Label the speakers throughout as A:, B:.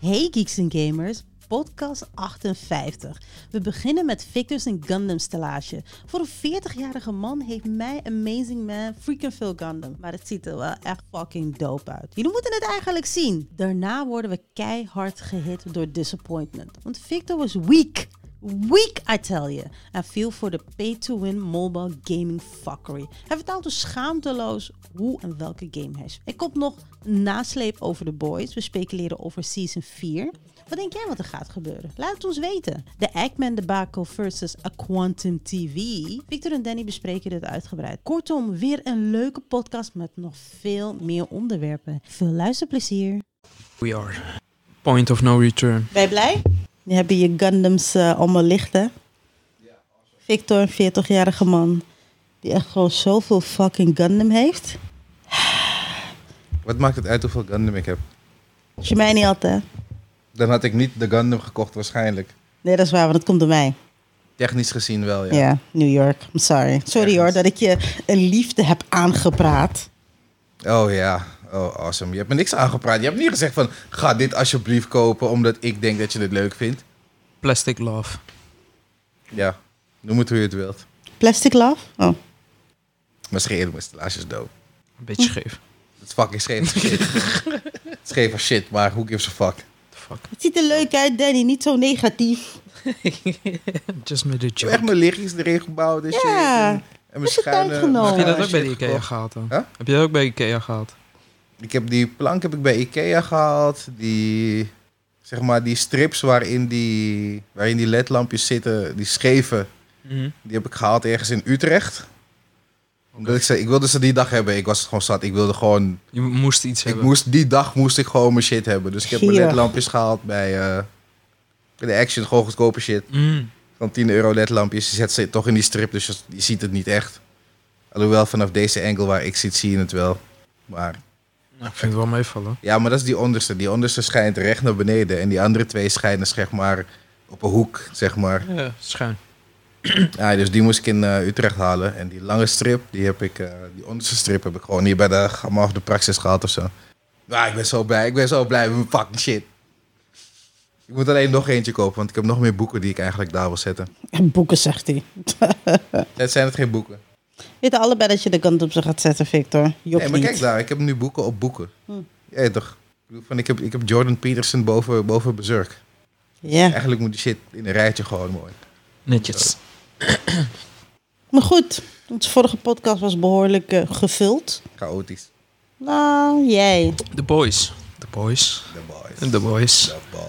A: Hey Geeks en Gamers, podcast 58. We beginnen met Victor's en Gundam stellage. Voor een 40-jarige man heeft mij Amazing Man freaking veel Gundam. Maar het ziet er wel echt fucking dope uit. Jullie moeten het eigenlijk zien. Daarna worden we keihard gehit door disappointment. Want Victor was weak. Weak, I tell you. En viel voor de pay-to-win mobile gaming fuckery. Hij vertelt dus schaamteloos hoe en welke game hij is. Er komt nog een nasleep over de boys. We speculeren over season 4. Wat denk jij wat er gaat gebeuren? Laat het ons weten. De Eggman debacle versus A Quantum TV. Victor en Danny bespreken dit uitgebreid. Kortom, weer een leuke podcast met nog veel meer onderwerpen. Veel luisterplezier.
B: We are. Point of no return.
A: Ben je blij? Nu heb je je Gundams eh, allemaal licht, hè? Victor, een 40-jarige man. Die echt gewoon zoveel fucking Gundam heeft.
C: Wat maakt het uit hoeveel Gundam ik heb?
A: Als je mij niet had, hè?
C: Dan had ik niet de Gundam gekocht waarschijnlijk.
A: Nee, dat is waar, want dat komt door mij.
C: Technisch gezien wel, ja.
A: Ja, New York. I'm sorry. Sorry hoor,
C: Ergens.
A: dat ik je een liefde heb aangepraat.
C: Oh ja, oh awesome. Je hebt me niks aangepraat. Je hebt niet gezegd van, ga dit alsjeblieft kopen omdat ik denk dat je dit leuk vindt.
B: Plastic love.
C: Ja, noem het hoe je het wilt.
A: Plastic love? Oh.
C: Maar schreeuwen met stellage is dope.
B: Een beetje scheef.
C: Het is fucking scheef als shit. scheef als shit, maar who gives a fuck?
B: The fuck.
A: Het ziet er leuk uit, Danny. Niet zo negatief.
B: Just made a
C: Ik heb echt
B: joke.
C: mijn lichtjes erin gebouwd en shit.
A: Ja,
C: en, en mijn
A: is je
C: schuine...
A: tijd genomen.
B: Heb je dat ook bij de
C: eh, shit
B: Ikea
C: gekocht.
B: gehaald dan?
C: Huh?
B: Heb je dat ook bij Ikea gehaald?
C: Ik heb die plank heb ik bij Ikea gehaald. Die, zeg maar, die strips waarin die, waarin die ledlampjes zitten, die scheven,
B: Mhm.
C: die heb ik gehaald ergens in Utrecht. Omdat ik zei, ik wilde ze die dag hebben. Ik was gewoon zat. Ik wilde gewoon,
B: Je moest iets
C: ik
B: hebben.
C: moest, die dag moest ik gewoon mijn shit hebben. Dus ik heb mijn
A: Gierig.
C: ledlampjes gehaald bij eh, bij de Action. Gewoon goedkope shit.
B: Mm.
C: Van 10 euro ledlampjes. Je zet ze toch in die strip, dus je, je ziet het niet echt. Alhoewel, vanaf deze angle waar ik zit, zie je het wel. Maar
B: Nou, ik vind het wel meevallen.
C: Ja, maar dat is die onderste. Die onderste schijnt recht naar beneden. En die andere twee schijnen zeg maar op een hoek, zeg maar.
B: Ja, schuin.
C: Ja, dus die moest ik in eh, Utrecht halen. En die lange strip, die heb ik, eh, die onderste strip heb ik gewoon hier bij de Gamma of de Praxis gehad of zo. Maar ik ben zo blij, ik ben zo blij met mijn fucking shit. Ik moet alleen nog eentje kopen, want ik heb nog meer boeken die ik eigenlijk daar wil zetten.
A: En boeken, zegt hij.
C: Het zijn het geen boeken.
A: Weten allebei dat je de kant op ze gaat zetten, Victor. Jok
C: Nee, maar
A: niet.
C: kijk daar, ik heb nu boeken op boeken.
A: Hm.
C: Ja, toch. Ik bedoel, van, Ik heb, ik heb Jordan Peterson boven, boven Berserk.
A: Ja.
C: Eigenlijk moet die shit in een rijtje gewoon mooi.
B: Netjes.
A: Maar goed, onze vorige podcast was behoorlijk eh, gevuld.
C: Chaotisch.
A: Nou, jij.
B: The boys. The boys.
C: The boys.
B: The boys.
C: The boys.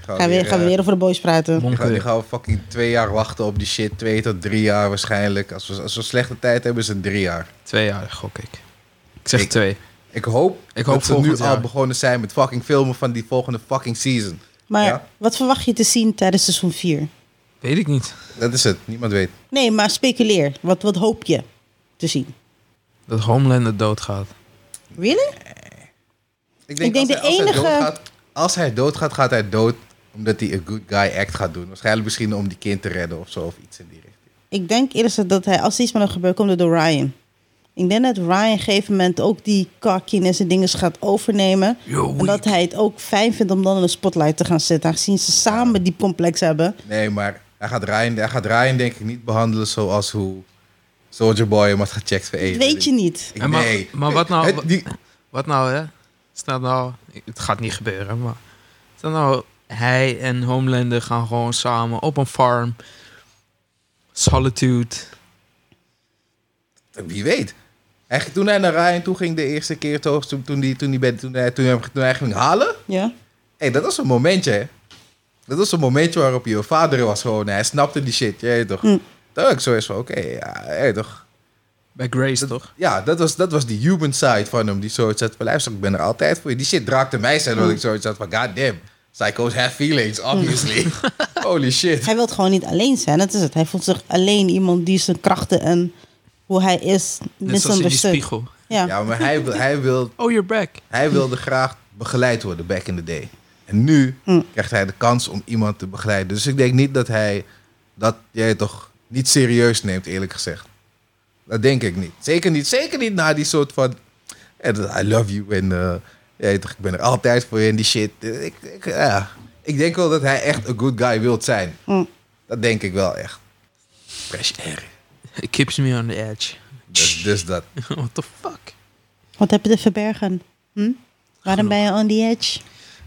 B: Oh,
A: Gaan we weer, gaan we
B: eh.
A: weer over de boys praten.
C: Nu gaan, eh, nu
B: Monken.
C: gaan we fucking twee jaar wachten op die shit. Twee tot drie jaar waarschijnlijk. Als we, als we slechte tijd hebben, is het drie jaar.
B: Twee jaar, gok ik. Ik zeg
C: Ik-
B: twee.
C: Ik hoop,
B: Ik hoop
C: dat ze nu
B: volgend jaar.
C: al begonnen zijn met fucking filmen van die volgende fucking season.
A: Maar
C: Ja.
A: wat verwacht je te zien tijdens seizoen 4?
B: Weet ik niet.
C: Dat is het. Niemand weet.
A: Nee, maar speculeer. Wat, wat hoop je te zien?
B: Dat Homelander doodgaat.
A: Really? Ik denk
C: als
A: de
C: hij- als hij
A: enige-
C: doodgaat- als hij doodgaat, gaat hij dood omdat hij een good guy act gaat doen. Waarschijnlijk misschien om die kind te redden of zo. Of iets in die richting.
A: Ik denk eerder zo dat hij, als er iets met hem gebeurt, komt het door Ryan. Ik denk dat Ryan op een gegeven moment ook die kakiness en dingen gaat overnemen.
B: Yo,
A: En dat hij het ook fijn vindt om dan in de spotlight te gaan zitten. Aangezien ze samen die complex hebben.
C: Nee, maar hij gaat Ryan, hij gaat Ryan denk ik niet behandelen zoals hoe Soldier Boy hem had gecheckt voor
A: Dat weet je niet.
C: Ik-
B: En maar-
C: nee.
B: maar wat
A: Oh,
B: nou-
C: Het- die-
B: Wat nou, hè? Staat nou... Het gaat niet gebeuren, maar... Staat nou... Hij en Homelander gaan gewoon samen op een farm. Solitude.
C: wie weet. Hij, toen hij naar Ryan toe ging de eerste keer, toch, toen, toen, die, toen, die bij, toen, hij, toen, hij, hem- toen hij ging halen.
A: Ja?
C: Hey, dat was een momentje, hè. Dat was een momentje waarop je vader was gewoon. Hij snapte die shit, je weet toch.
A: Hm.
C: Dat ik zo is van, oké, ja, je weet toch.
B: Bij Grace, toch?
C: Ja, dat was, dat was die human side van hem. Die zoiets had van, luister, ik ben er altijd voor je. Die shit raakte mij zijn,
A: Hm.
C: dat ik zoiets had van, god damn. Psychos have feelings, obviously. Holy shit.
A: Hij wil gewoon niet alleen zijn. Dat is het. Hij voelt zich alleen iemand die zijn krachten en hoe hij is
B: Net zoals in die
A: misunderstood.
B: spiegel.
A: Ja.
C: Ja, maar hij, wil- hij wil
B: Oh, you're back.
C: Hij wilde graag begeleid worden back in the day. En nu
A: Mm.
C: krijgt hij de kans om iemand te begeleiden. Dus ik denk niet dat hij dat jij toch niet serieus neemt, eerlijk gezegd. Dat denk ik niet. Zeker niet, zeker niet na die soort van. eh, dat I love you en eh, Ja, toch, ik ben er altijd voor je en die shit. Eh, Ik, ik, ja. ik denk wel dat hij echt een good guy wilt zijn.
A: Mm.
C: Dat denk ik wel echt. Fresh air.
B: It keeps me on the edge.
C: Dus, dus dat.
B: What the fuck?
A: Wat heb je te verbergen? Hm? Waarom ben je on the edge?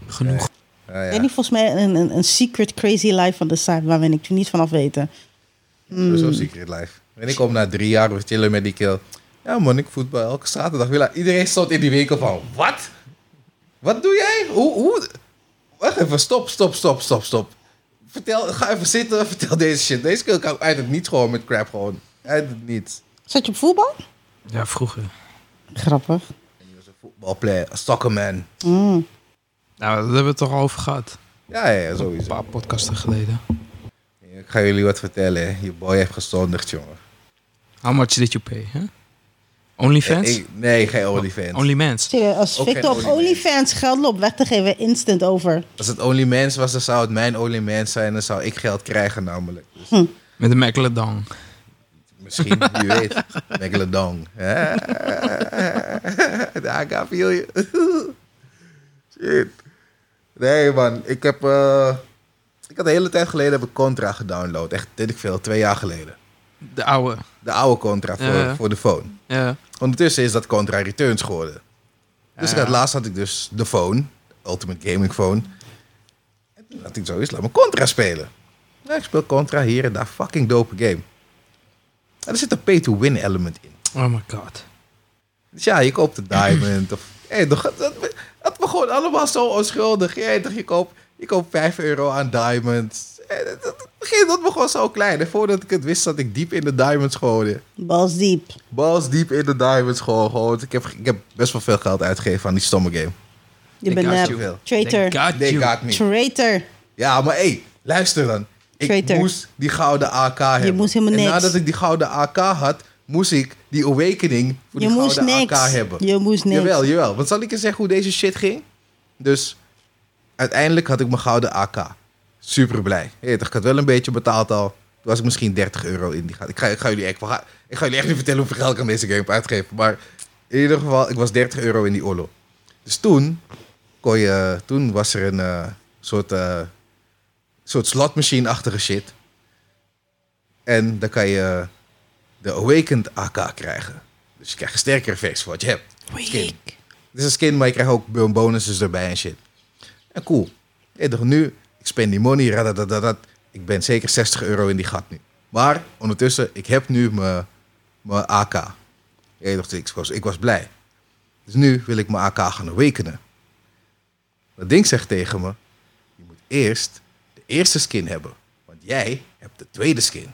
B: Genoeg.
C: Nou
A: Ik
C: ja.
A: weet niet, volgens mij een, een, een secret crazy life van de site waar we niks niet vanaf weten.
C: Dus Zo Secret Life. En ik kom na drie jaar we chillen met die kill. Ja man, ik voetbal elke zaterdag. Willa, Iedereen stond in die winkel van, wat? Wat doe jij? Hoe, hoe? Wacht even, stop, stop, stop, stop, stop. Vertel, ga even zitten, vertel deze shit. Deze kill kan uit het niet gewoon met crap gewoon. Uit het niet.
A: Zat je op voetbal?
C: Eh,
B: Ja, vroeger.
A: Grappig.
C: En die was een voetbalplayer, een soccerman.
A: Mm.
B: Nou, dat hebben we het toch al over gehad.
C: Ja, ja,
B: Een
C: sowieso.
B: paar podcasten geleden.
C: Ik ga jullie wat vertellen. hè. Je boy heeft gezondigd, jongen.
B: How much did you pay, hè? Onlyfans?
C: Ik- nee, geen OnlyFans.
B: Onlyfans.
A: Serieus, als
C: Ook geen
A: Victor op
C: OnlyFans.
A: OnlyFans geld loopt weg te geven, instant over.
C: Als het OnlyMans was, dan zou het mijn OnlyMans zijn. Dan zou ik geld krijgen namelijk. Dus
B: Met een Megalodon.
C: Misschien, wie weet. Megalodon. Eh, Daar ga feel you. Shit. Nee, man. Ik heb... eh, ik had een hele tijd geleden heb ik Contra gedownload. Echt, weet ik veel. Twee jaar geleden.
B: De oude.
C: De oude Contra voor,
B: Ja, ja.
C: voor de phone.
B: Ja.
C: Ondertussen is dat Contra Returns geworden. Dus ik had, laatst had ik dus de phone. Ultimate Gaming Phone. En toen had ik zoiets, laat me Contra spelen. Nou, ik speel Contra hier en daar. Fucking dope game. En er zit een pay-to-win element in.
B: Oh my god.
C: Dus ja, je koopt een diamond. Of, hey, toch, dat, dat, dat begon allemaal zo onschuldig. Hey, toch, je, koopt, je koopt 5 euro aan diamonds. Hey, dat, dat, begin- dat begon zo klein. En voordat ik het wist, zat ik diep in de diamonds gooien.
A: Bals diep.
C: Bals diep in de diamonds gewoon. gewoon. Ik, heb, ik heb best wel veel geld uitgegeven aan die stomme game.
A: Je
B: Ik
A: bent
B: haat
A: nep.
B: you.
C: Veel.
A: Traitor.
B: They got
C: They
B: you.
C: got me.
A: Traitor.
C: Ja, maar hé, hey, luister dan. Ik
A: Traitor.
C: moest die gouden AK hebben.
A: moest helemaal
C: en
A: niks.
C: nadat ik die gouden AK had, moest ik die Awakening voor
A: Je
C: die
A: moest
C: gouden
A: niks.
C: AK hebben.
A: Je moest niks.
C: Jawel, jawel. Want zal ik je zeggen hoe deze shit ging? Dus uiteindelijk had ik mijn gouden AK. Super blij. Hey, toch, ik had wel een beetje betaald al. Toen was ik misschien 30 euro in die gaat. Ik ga, ik ga, jullie, echt, ik ga, ik ga jullie echt niet vertellen hoeveel geld ik aan deze game heb uitgegeven. Maar in ieder geval, ik was 30 euro in die oorlog. Dus toen, kon je, toen was er een eh, soort, eh, soort slotmachine-achtige shit. En dan kan je de Awakened AK krijgen. Dus je krijgt een sterker effect voor wat je hebt. Skin.
A: Weak.
C: Het is een skin, maar je krijgt ook bon- bonuses erbij en shit. En cool. Ja, toch nu, ik spend die money, radadadadat. ik ben zeker 60 euro in die gat nu. Maar ondertussen, ik heb nu mijn mijn AK. Ja, toch, ik, was, ik was blij. Dus nu wil ik mijn AK gaan awakenen. Dat ding zegt tegen me, je moet eerst de eerste skin hebben. Want jij hebt de tweede skin.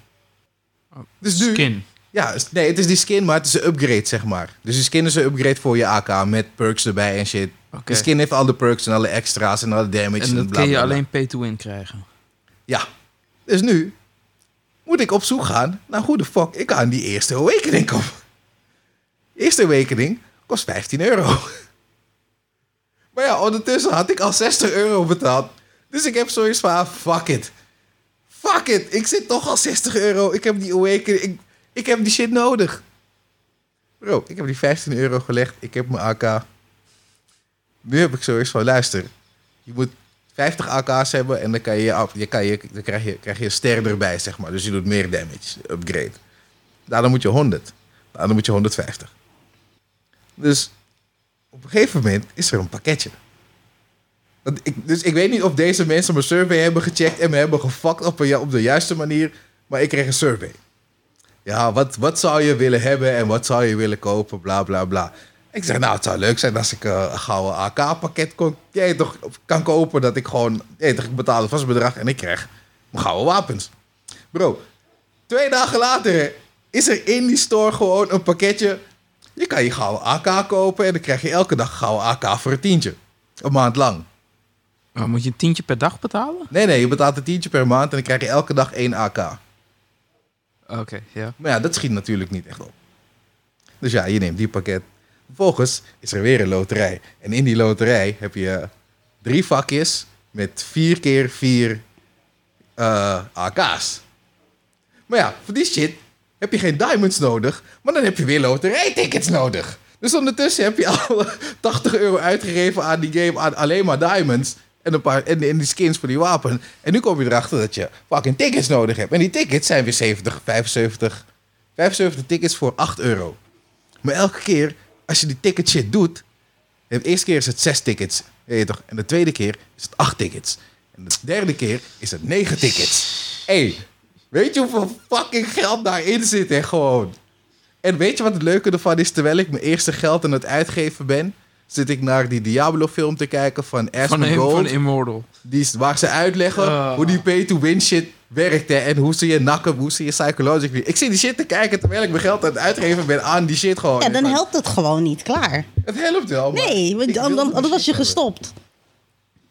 C: Dus nu,
B: Oh, Skin.
C: ja, is- nee, het is die skin, maar het is een upgrade, zeg maar. Dus die skin is een upgrade voor je AK met perks erbij en shit.
B: Oké.
C: Die skin heeft alle perks en alle extra's en alle damage.
B: En dat
C: bla,
B: kun je
C: bla, bla.
B: alleen pay-to-win krijgen.
C: Ja. Dus nu moet ik op zoek gaan naar hoe de fuck ik aan die eerste awakening kom. Eerste awakening kost 15 euro. Maar ja, ondertussen had ik al 60 euro betaald. Dus ik heb zoiets van, ah, fuck it. Fuck it, ik zit toch al 60 euro. Ik heb die awakening, ik, ik heb die shit nodig. Bro, ik heb die 15 euro gelegd. Ik heb mijn AK. Nu heb ik zoiets van, luister. Je moet 50 AK's hebben en dan, kan je, je af- je kan je, dan krijg, je, krijg je een ster erbij, zeg maar. Dus je doet meer damage, upgrade. Nou, dan moet je 100. Nou, dan moet je 150. Dus op een gegeven moment is er een pakketje. Dat ik, dus ik weet niet of deze mensen mijn survey hebben gecheckt en me hebben gefakt op, een ju- op de juiste manier. Maar ik kreeg een survey. Ja, wat, wat zou je willen hebben en wat zou je willen kopen, bla bla bla. Ik zeg, nou, het zou leuk zijn als ik eh, een gouden AK-pakket kon, ja, toch, kan kopen. Dat ik gewoon, ja, toch, ik betaal een vast bedrag en ik krijg mijn gouden wapens. Bro, twee dagen later hè, is er in die store gewoon een pakketje. Je kan je gouden AK kopen en dan krijg je elke dag een gouden AK voor een tientje. Een maand lang.
B: Maar moet je een tientje per dag betalen?
C: Nee, nee, je betaalt een tientje per maand en dan krijg je elke dag één AK.
B: Oké, ja.
C: Maar ja, dat schiet natuurlijk niet echt op. Dus ja, je neemt die pakket. Vervolgens is er weer een loterij. En in die loterij heb je drie vakjes met vier keer vier eh, AK's. Maar ja, voor die shit heb je geen diamonds nodig, maar dan heb je weer loterijtickets nodig. Dus ondertussen heb je al 80 euro uitgegeven aan die game, aan alleen maar diamonds. En, een paar, en, en die skins voor die wapen. En nu kom je erachter dat je fucking tickets nodig hebt. En die tickets zijn weer 70, 75, 75 tickets voor 8 euro. Maar elke keer als je die ticket shit doet. De eerste keer is het 6 tickets. Weet je toch? En de tweede keer is het 8 tickets. En de derde keer is het 9 tickets. Hé, hey, weet je hoeveel fucking geld daarin zit, hè, gewoon? En weet je wat het leuke ervan is? Terwijl ik mijn eerste geld aan het uitgeven ben, zit ik naar die Diablo-film te kijken van
B: Van,
C: Asmongold.
B: Im-
C: Gold.
B: van Immortal.
C: Die, is- waar ze uitleggen
B: Ah.
C: hoe die pay-to-win shit werkt. Hè, en hoe ze je nakken, hoe ze je psychologically... Ik zit die shit te kijken terwijl ik mijn geld aan het uitgeven ben aan die shit gewoon.
A: Ja, dan
C: Maar
A: helpt het gewoon niet. Klaar.
C: Het helpt wel, maar
A: Nee, want
C: ik
A: dan,
C: wilde
A: dan,
C: die
A: anders was
C: shit
A: je
C: hebben.
A: gestopt.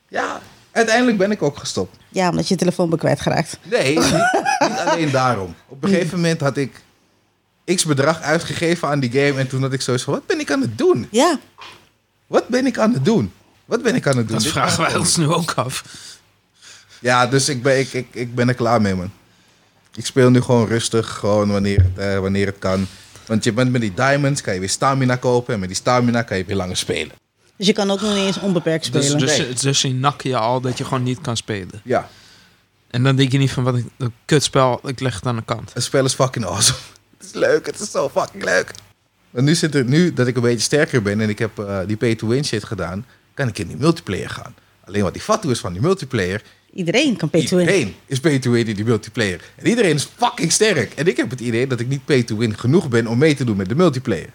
C: Ja, uiteindelijk ben ik ook gestopt.
A: Ja, omdat je je telefoon bent kwijtgeraakt.
C: Nee, niet, niet alleen daarom. Op een gegeven moment had ik x bedrag uitgegeven aan die game. En toen had ik zoiets van, wat ben ik aan het doen?
A: Ja,
C: Wat ben ik aan het doen? Wat ben ik aan het doen?
B: Dat
C: Dit-
B: vragen wij ons nu ook af.
C: Ja, dus ik ben, ik, ik, ik ben er klaar mee, man. Ik speel nu gewoon rustig, gewoon wanneer, het, eh, wanneer het kan. Want je bent met die diamonds, kan je weer stamina kopen. En met die stamina kan je weer langer spelen.
A: dus je kan ook nog niet eens onbeperkt
B: Dus,
A: spelen.
B: dus, dus je nakken je al dat je gewoon niet kan spelen.
C: Ja,
B: En dan denk je niet van, wat een- een kutspel, ik leg het aan de kant.
C: het spel is fucking awesome. Het is leuk, het is zo fucking leuk. En nu zit er, nu dat ik een beetje sterker ben en ik heb eh, die pay-to-win shit gedaan, kan ik in die multiplayer gaan. Alleen wat die fatu is van die multiplayer,
A: Iedereen kan pay to win.
C: Iedereen is pay to win in die multiplayer. En iedereen is fucking sterk. En ik heb het idee dat ik niet pay to win genoeg ben om mee te doen met de multiplayer.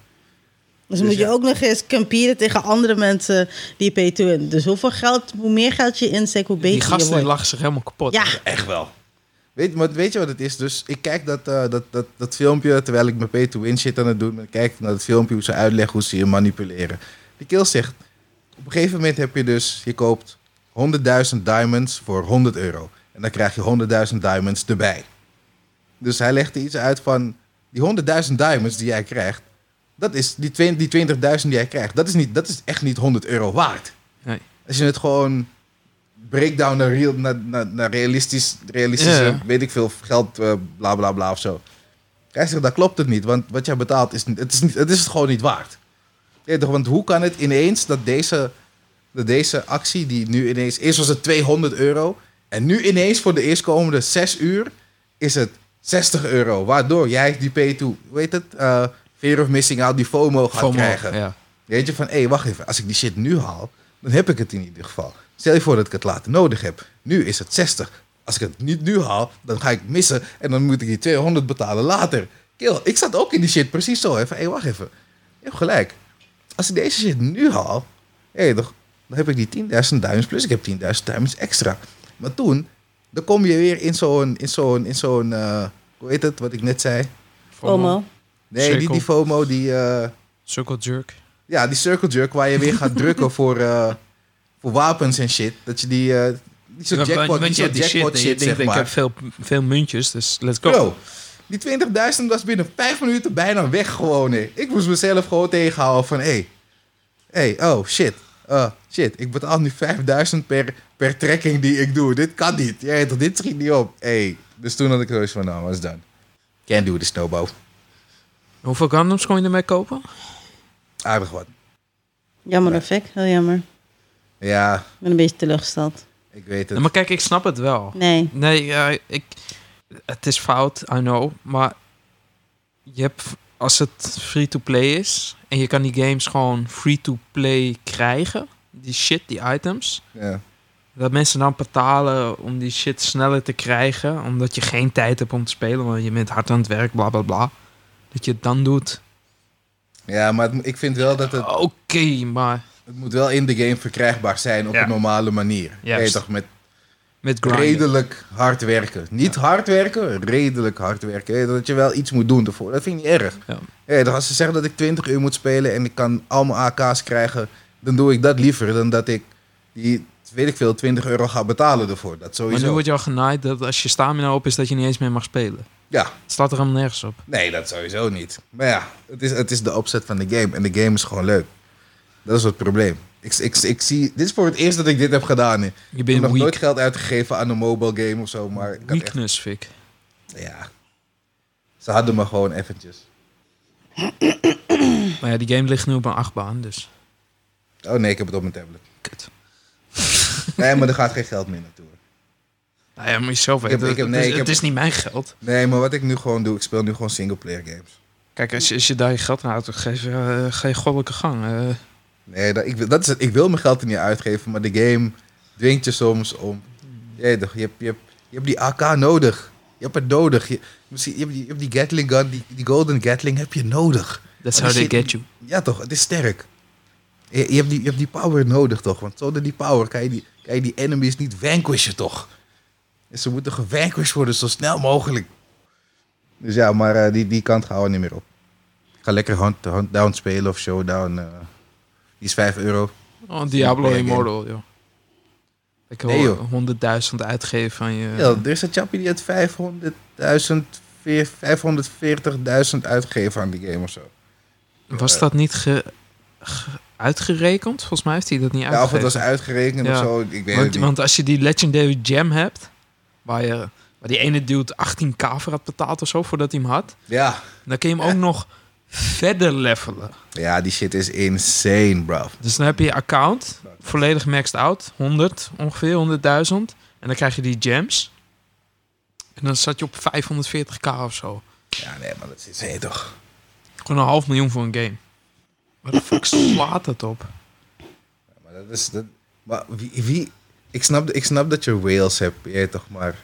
A: Dus moet
C: Dus
A: je
C: ja.
A: ook nog eens kamperen tegen andere mensen die pay to win. Dus hoeveel geld, hoe meer geld je insteekt, hoe
B: Die
A: beter je
B: gasten die
A: wordt.
B: lachen zich helemaal kapot.
A: Ja,
C: Echt wel. Weet, maar weet je wat het is? Dus ik kijk dat, eh, dat, dat, dat filmpje terwijl ik mijn pay to win shit aan het doen ben. Ik Kijk naar dat filmpje hoe ze uitleggen hoe ze je manipuleren. Die kill zegt: op een gegeven moment heb je dus, je koopt 100.000 diamonds voor 100 euro. En dan krijg je 100.000 diamonds erbij. Dus hij legde iets uit van die 100.000 diamonds die jij krijgt. Dat is die, twen- die 20.000 die jij krijgt, dat is, niet, dat is echt niet 100 euro waard.
B: Nee.
C: Als je het gewoon breakdown naar, real, naar, naar, naar realistisch, realistische,
B: Ja.
C: weet ik veel, geld, eh, bla bla bla of zo. Hij zegt, dat klopt het niet, want wat jij betaalt is, niet- het is, niet, het is het gewoon niet waard. Ja, toch, want hoe kan het ineens dat deze, dat deze actie, die nu ineens, eerst was het 200 euro, en nu ineens voor de eerstkomende 6 uur is het 60 euro, waardoor jij die pay to, hoe heet het, eh, fear of missing out, die FOMO gaat
B: FOMO,
C: krijgen.
B: Ja.
C: Weet je, van hé, wacht even, als ik die shit nu haal, dan heb ik het in ieder geval. Stel je voor dat ik het later nodig heb. Nu is het 60. Als ik het niet nu haal, dan ga ik missen en dan moet ik die 200 betalen later. Kill, ik zat ook in die shit precies zo. Even, hé, wacht even. Je hebt gelijk. Als ik deze shit nu haal, hé, toch, dan heb ik die 10.000 duims plus ik heb 10.000 duims extra. Maar toen, dan kom je weer in zo'n, in zo'n, in zo'n, eh, hoe heet het, wat ik net zei?
A: FOMO.
C: Nee, die,
B: Cirkel.
C: die FOMO, die... eh,
B: Circle jerk.
C: ja, die circle jerk waar je weer gaat drukken voor, eh, voor wapens en shit. Dat je die, eh die soort
B: Ja, want-
C: jackpot,
B: want
C: die
B: je hebt
C: soort jackpot
B: en
C: shit,
B: je denkt,
C: zeg
B: ik heb
C: maar.
B: veel, veel muntjes, dus let's go.
C: Bro, die 20.000 was binnen 5 minuten bijna weg gewoon. hè. Ik moest mezelf gewoon tegenhouden van, hé, hey, hey, oh shit. eh, shit, ik betaal nu 5000 per, per trekking die ik doe. Dit kan niet. Jij, weet toch, dit schiet niet op. Hey. Dus toen had ik zoiets van, nou, was dan. Can't do this, snowball.
B: Hoeveel randoms kon je ermee kopen?
C: Aardig wat.
A: Jammer, effect. Heel jammer.
C: Ja,
A: Ik ben een beetje teleurgesteld.
C: ik weet
B: Nee,
C: het.
B: maar kijk, ik snap het wel.
A: Nee.
B: Nee, eh, ik, het is fout, I know. Maar je hebt, als het free-to-play is... en je kan die games gewoon free-to-play krijgen... die shit, die items...
C: Ja.
B: dat mensen dan betalen om die shit sneller te krijgen... omdat je geen tijd hebt om te spelen... want je bent hard aan het werk, bla bla bla. Dat je het dan doet.
C: ja, maar het- ik vind wel dat het...
B: Oké, maar
C: Het moet wel in de game verkrijgbaar zijn op
B: Ja.
C: een normale manier.
B: Juist.
C: Weet je toch, met
B: met grinden.
C: redelijk hard werken. Niet hard werken, redelijk hard werken. Weet je, dat je wel iets moet doen ervoor. Dat vind ik niet erg.
B: Ja.
C: Weet je toch, als ze zeggen dat ik 20 uur moet spelen en ik kan al mijn AK's krijgen, dan doe ik dat liever dan dat ik die, weet ik veel, 20 euro ga betalen ervoor. Dat
B: Maar nu
C: sowieso.
B: wordt je al genaaid dat als je stamina op is... dat je niet eens meer mag spelen.
C: Ja,
B: Het staat er helemaal nergens op.
C: nee, dat sowieso niet. Maar ja, het is, het is de opzet van de game. En de game is gewoon leuk. Dat is het probleem. Ik, ik, ik zie, dit is voor het eerst dat ik dit heb gedaan. hè.
B: Je
C: Ik
B: bent
C: heb nog nooit
B: weak.
C: geld uitgegeven aan een mobile game of zo, maar ik had echt,
B: Weakness, Fik.
C: ja. Ze hadden me gewoon eventjes.
B: Maar ja, die game ligt nu op een achtbaan, dus
C: Oh nee, ik heb het op mijn tablet.
B: kut.
C: Nee, maar er gaat geen geld meer naartoe.
B: Nou ja, moet je zelf
C: Ik
B: weten.
C: heb- ik heb-
B: Het
C: nee,
B: is-
C: ik
B: het
C: heb-
B: is niet mijn geld.
C: Nee, maar wat ik nu gewoon doe, ik speel nu gewoon singleplayer games.
B: Kijk, als je, als je daar je geld naar uitgeeft, ja, eh, ga je goddelijke gang. eh.
C: Nee, dat, ik, wil- dat is het. Ik wil mijn geld er niet uitgeven, maar de game dwingt je soms om. Jee, toch, je, hebt, je, hebt, je hebt die AK nodig. Je hebt het nodig. Je, misschien, je, hebt, die, je hebt die Gatling gun, die, die Golden Gatling heb je nodig.
B: That's
C: Maar
B: how they get
C: shit-
B: you.
C: Ja toch, het is sterk. Je, je hebt, die, je hebt die power nodig toch, want zonder die power kan je die, kan je die enemies niet vanquishen toch. En ze moeten gevanquished worden zo snel mogelijk. Dus ja, maar eh, die, die kant gaan we niet meer op. Ik ga lekker hunt, Huntdown spelen of Showdown. eh. die is 5 euro.
B: Oh, Diablo
C: Single player
B: Immortal, joh. Ik
C: Nee,
B: wil
C: joh.
B: 100.000 uitgeven van je...
C: Ja, er is een chappie die het 500.000, veer- 540.000 uitgegeven aan die game of zo.
B: Was dat niet ge- ge- uitgerekend? Volgens mij heeft hij dat niet
C: Ja, of het
B: uitgerekend.
C: was uitgerekend of
B: Ja.
C: zo, ik weet het
B: want,
C: niet.
B: want als je die Legendary Gem hebt, waar, je, waar die ene dude 18k voor had betaald of zo, voordat hij hem had,
C: Ja.
B: dan kun je hem ook nog verder levelen.
C: ja, die shit is insane, bro.
B: Dus dan heb je je account,
C: Nou,
B: volledig maxed out, 100 ongeveer, 100.000. En dan krijg je die gems. En dan zat je op 540k of zo.
C: Ja, nee, maar dat is insane toch.
B: Gewoon een half miljoen voor een game. Waar de fuck slaat dat op?
C: Maar dat is... Dat, maar wie... wie ik, snap, ik snap dat je whales hebt, je weet toch, maar...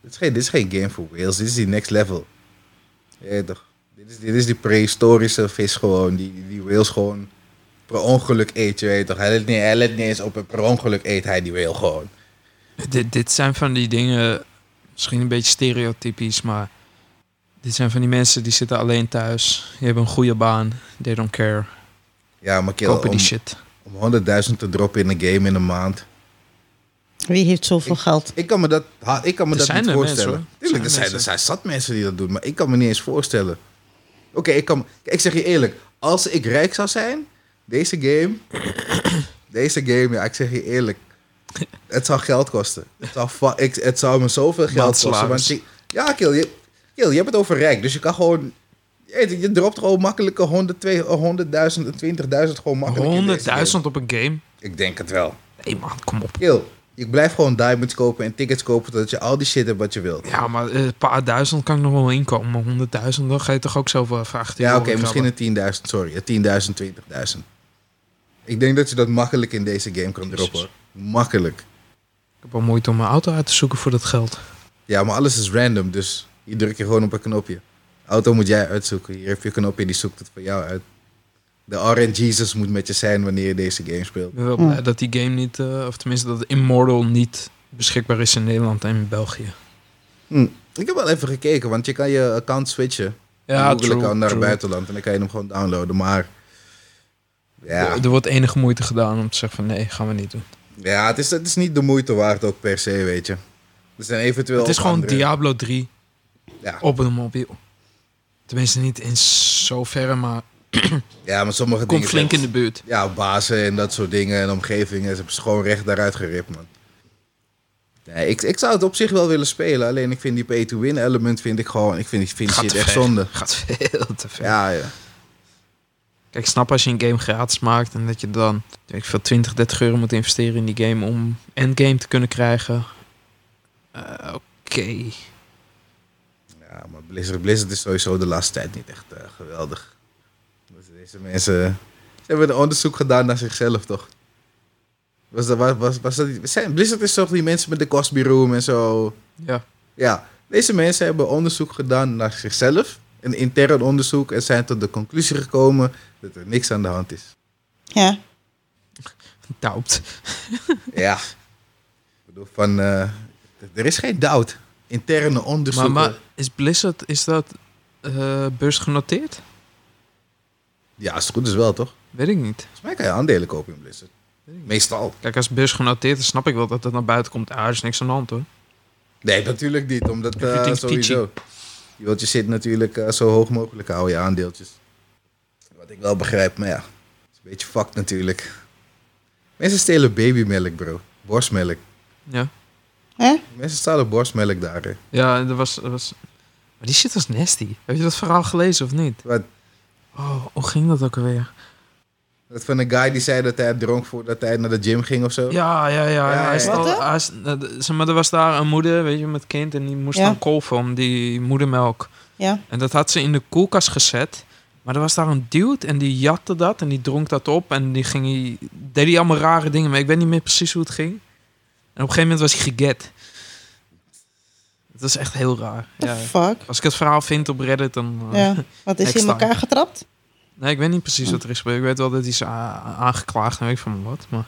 C: Dit is, geen, dit is geen game voor whales, dit is die next level. Je weet toch. Dit is, dit is die prehistorische vis gewoon, die, die whales gewoon per ongeluk eet, je weet toch. Hij let niet, hij let niet eens op, en per ongeluk eet hij die whale gewoon.
B: Dit, dit zijn van die dingen, misschien een beetje stereotypisch, maar dit zijn van die mensen die zitten alleen thuis. Die hebben een goede baan. They don't care.
C: Ja, maar kill,
B: Kopen
C: om,
B: die shit.
C: om 100.000 te droppen in een game in een maand.
A: Wie heeft zoveel geld?
C: Ik kan me dat, ha- ik kan me
B: Er
C: dat
B: zijn
C: niet
B: er mensen,
C: voorstellen.
B: hoor. Er
C: Tuurlijk,
B: zijn
C: er zijn, er
B: mensen.
C: zijn zat mensen die dat doen, maar ik kan me niet eens voorstellen. Oké, ik, kan, ik zeg je eerlijk, als ik rijk zou zijn, deze game, deze game, ja, ik zeg je eerlijk, het zou geld kosten. Het zou, fa- ik, het zou me zoveel geld kosten. Want
B: Maandsalaris.
C: je, ja, Kiel, je, Kiel, je hebt het over rijk, dus je kan gewoon, je, je dropt gewoon makkelijke 100, 200.000, 20.000 gewoon makkelijk. in deze game.
B: 100.000 op een game?
C: Ik denk het wel.
B: Nee man, kom op.
C: Kill, ik blijf gewoon diamonds kopen en tickets kopen totdat je al die shit hebt wat je wilt.
B: Ja, maar eh, een paar duizend kan ik nog wel inkomen. Maar 100.000, dan ga je toch ook zoveel even achter je
C: Ja,
B: oren
C: oké, misschien
B: krabben.
C: een 10.000, sorry. Een 10.000, 20.000. Ik denk dat je dat makkelijk in deze game kan
B: Jezus.
C: droppen. hoor. Makkelijk.
B: Ik heb al moeite om mijn auto uit te zoeken voor dat geld.
C: Ja, maar alles is random, dus je drukt je gewoon op een knopje. Auto moet jij uitzoeken. Hier heb je een knopje, die zoekt het voor jou uit. De RNG's Jesus moet met je zijn wanneer je deze game speelt.
B: Ik ben wel
A: Ja.
B: blij dat die game niet, eh, of tenminste dat Immortal niet beschikbaar is in Nederland en in België.
C: Hm, Ik heb wel even gekeken, want je kan je account switchen.
B: Ja,
C: Google
B: true,
C: account naar het
B: true.
C: buitenland en dan kan je hem gewoon downloaden. Maar ja,
B: Er- Er wordt enige moeite gedaan om te zeggen van nee, gaan we niet doen.
C: ja het, is, het is niet de moeite waard ook per se, weet je. Er zijn eventueel
B: het is
C: ook
B: gewoon
C: andere-
B: Diablo 3
C: Ja.
B: op een mobiel. Tenminste niet in zoverre, maar
C: Ja, maar sommige
B: komt
C: dingen...
B: flink in de buurt.
C: Ja, bazen en dat soort dingen en omgevingen. Ze hebben ze gewoon recht daaruit geript, man. Nee, ik, ik zou het op zich wel willen spelen. Alleen ik vind die pay-to-win element vind ik gewoon... Ik vind, ik vind die
B: Gaat
C: shit
B: te
C: echt
B: ver.
C: zonde.
B: Gaat veel te ver.
C: Ja, ja.
B: Kijk, ik snap als je een game gratis maakt en dat je dan weet ik veel, 20, 30 euro moet investeren in die game om endgame te kunnen krijgen. Eh, Oké.
C: ja maar Blizzard, Blizzard is sowieso de laatste tijd niet echt eh, geweldig. Dus deze mensen... Ze hebben een onderzoek gedaan naar zichzelf, toch? Was dat, was, was, was dat, die- zijn, Blizzard is toch die mensen met de Cosby Room en zo...
B: Ja.
C: Ja, deze mensen hebben onderzoek gedaan naar zichzelf. Een intern onderzoek en zijn tot de conclusie gekomen dat er niks aan de hand is.
A: Ja.
B: Doubt.
C: Ja. Ik bedoel, van, eh, er is geen doubt. Interne
B: Maar,
C: onderzoeken.
B: maar is Blizzard, is dat eh beursgenoteerd?
C: Ja, als het goed is wel, toch?
B: Weet ik niet.
C: Volgens mij kan je aandelen kopen in Blizzard. Meestal.
B: Kijk, als beursgenoteerd is, snap ik wel dat dat naar buiten komt. Ah, er is niks aan de hand hoor.
C: Nee, natuurlijk niet, omdat eh,
B: Everything's
C: sowieso. Je wilt je zit natuurlijk eh, zo hoog mogelijk houden, je aandeeltjes. Wat ik wel begrijp, maar ja. Het is een beetje fucked natuurlijk. Mensen stelen babymelk, bro. Borstmelk.
B: Ja.
A: Hè?
C: Mensen stalen borstmelk daar. hè.
B: Ja, en er was, er was... Maar die shit was nasty. Heb je dat verhaal gelezen of niet?
C: Wat?
B: Oh, hoe ging dat ook alweer?
C: Dat van een guy die zei dat hij dronk voordat hij naar de gym ging of zo.
B: Ja, ja, ja.
C: Ja,
B: hij
C: ja.
B: stal-
A: Wat, hè?
B: hij s- eh, d- zeg maar, er was daar een moeder, weet je, met kind. En die moest
A: Ja.
B: dan kolven om die moedermelk.
A: Ja.
B: En dat had ze in de koelkast gezet. Maar er was daar een dude en die jatte dat en die dronk dat op. En die ging, die- deed die allemaal rare dingen mee. Ik weet niet meer precies hoe het ging. En op een gegeven moment was hij geget. Dat is echt heel raar.
A: The
B: Ja.
A: fuck?
B: Als ik het verhaal vind op Reddit, dan... eh,
A: Ja. Wat is hij in
B: Extra.
A: elkaar getrapt?
B: Nee, ik weet niet precies wat er is gebeurd. Ik weet wel dat hij is a- aangeklaagd en weet ik van wat. Maar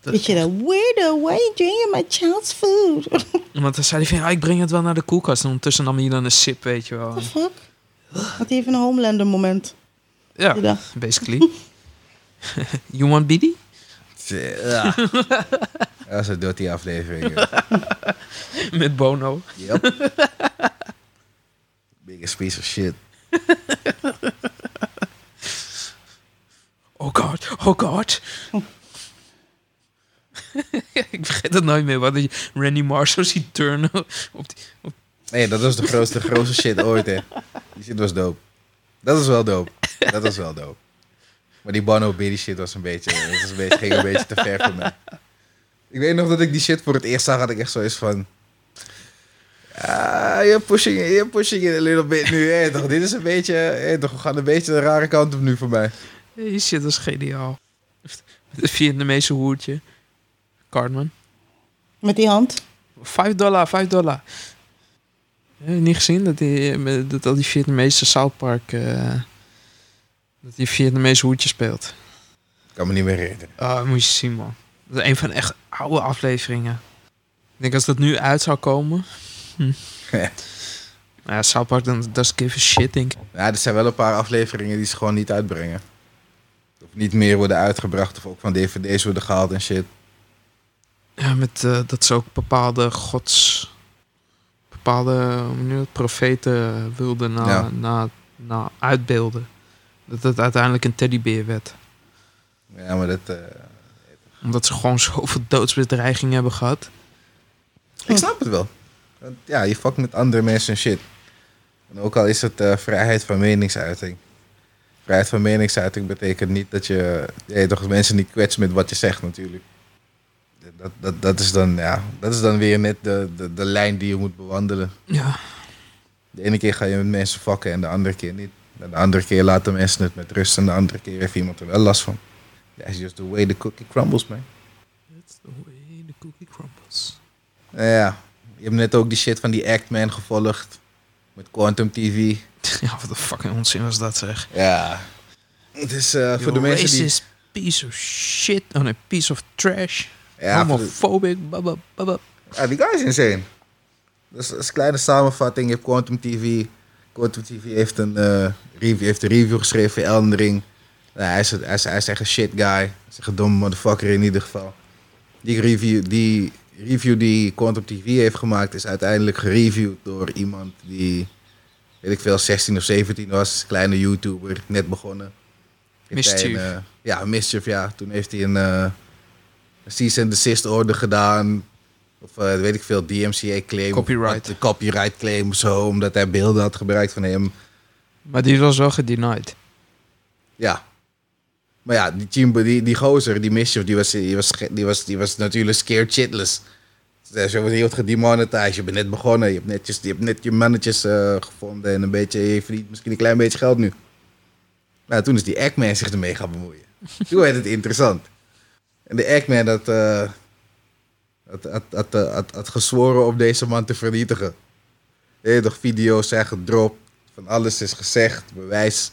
B: Dat-
A: Weet je dat? Weirdo, why are you drinking my child's food? What
B: Want dan zei hij van, ja, ik breng het wel naar de koelkast. En ondertussen nam hij dan een sip, weet je wel.
A: the fuck? Had hij even een Homelander moment.
B: Ja,
A: Die dag.
B: basically. you want biddy?
C: Ja. Dat was een dirty aflevering. joh.
B: Met Bono.
C: Yep. Biggest piece of shit.
B: Oh god, oh god. ik vergeet dat nooit meer. Wat die Randy Marsh zo ziet turnen. Op die...
C: Nee, dat was de grootste, grootste shit ooit, hè. Die shit was dope. Dat is wel dope. Dat is wel dope. Maar die Bono Biddy shit was een beetje, dat was een beetje, ging een beetje te ver voor mij. Ik weet nog dat ik die shit voor het eerst zag, had ik echt zo eens van... Ah, you're pushing it, you're pushing it a little bit nu, hè. Toch, dit is een beetje, hè, toch, we gaan een beetje de rare kant op nu voor mij.
B: Die shit was geniaal. Het Vietnamese hoertje. Cartman.
A: Met die hand.
B: Vijf dollar, vijf dollar. Heb je niet gezien dat, die, eh, dat al die Vietnamese South Park... eh, dat die Vietnamese hoedje speelt?
C: Ik kan me niet meer herinneren.
B: Ah, dat moet je zien, man. Dat is een van de echt oude afleveringen. Ik denk als dat nu uit zou komen... Hm.
C: Ja.
B: Nou ja, South Park dan- does give a shit, denk ik.
C: Ja, er zijn wel een paar afleveringen die ze gewoon niet uitbrengen. Of niet meer worden uitgebracht, of ook van dvd's worden gehaald en shit.
B: Ja, met eh, dat ze ook bepaalde gods... Bepaalde hoe noem je dat, profeten wilden na,
C: Ja.
B: na, na uitbeelden. Dat het uiteindelijk een teddybeer werd.
C: Ja, maar dat... eh,
B: Omdat ze gewoon zoveel doodsbedreigingen hebben gehad.
C: Ik snap het wel. Want ja, je fuckt met andere mensen en shit. En ook al is het eh, vrijheid van meningsuiting. Vrijheid van meningsuiting betekent niet dat je, je toch mensen niet kwetst met wat je zegt natuurlijk. Dat, dat, dat, is, dan, ja, dat is dan weer net de, de, de lijn die je moet bewandelen.
B: Ja.
C: De ene keer ga je met mensen fucken en de andere keer niet. En de andere keer laten mensen het met rust en de andere keer heeft iemand er wel last van. That's just the way the cookie crumbles, man.
B: That's the way the cookie crumbles.
C: Nou ja, je hebt net ook die shit van die Actman gevolgd. Met Quantum TV.
B: Ja, wat een fucking onzin was dat zeg.
C: Ja. Dus eh, voor de
B: You
C: mensen die...
B: racist piece of shit on a piece of trash.
C: Ja, voor de-
B: Homophobic. Babab, babab.
C: ja, die guy is insane. Dus als kleine samenvatting, je hebt Quantum TV. Quantum TV heeft een, eh, review, heeft een review geschreven voor Elden Ring. Nou, hij, is, een- hij, is, hij is echt een shit guy. Hij is echt een domme motherfucker in ieder geval. Die review die, review die Quantum TV heeft gemaakt is uiteindelijk gereviewd door iemand die... Weet ik veel, 16 of 17 was. Kleine YouTuber, net begonnen. Heeft hij
B: Mischief.
C: eh, ja, Mischief, ja. Toen heeft hij een eh cease and desist order gedaan. Of eh, weet ik veel, DMCA claim.
B: Copyright.
C: Of wat, copyright claim of zo, omdat hij beelden had gebruikt van hem.
B: Maar die was wel gedenied.
C: Ja. Maar ja, die, Chimbo, die, die gozer, die mischief, die was, die, was, ge- die, was, die was natuurlijk scared shitless. Dus je wordt heel wat gedemonetized. Je bent net begonnen. Je hebt net je, je, hebt net je mannetjes eh, gevonden. En een beetje, je verdient misschien een klein beetje geld nu. Nou, toen is die Eggman zich ermee gaan bemoeien. toen werd het interessant. En de Eggman had, eh, had, had, had, eh, had, had gezworen om deze man te vernietigen. Heel toch video's zijn gedropt. Van alles is gezegd. Bewijs.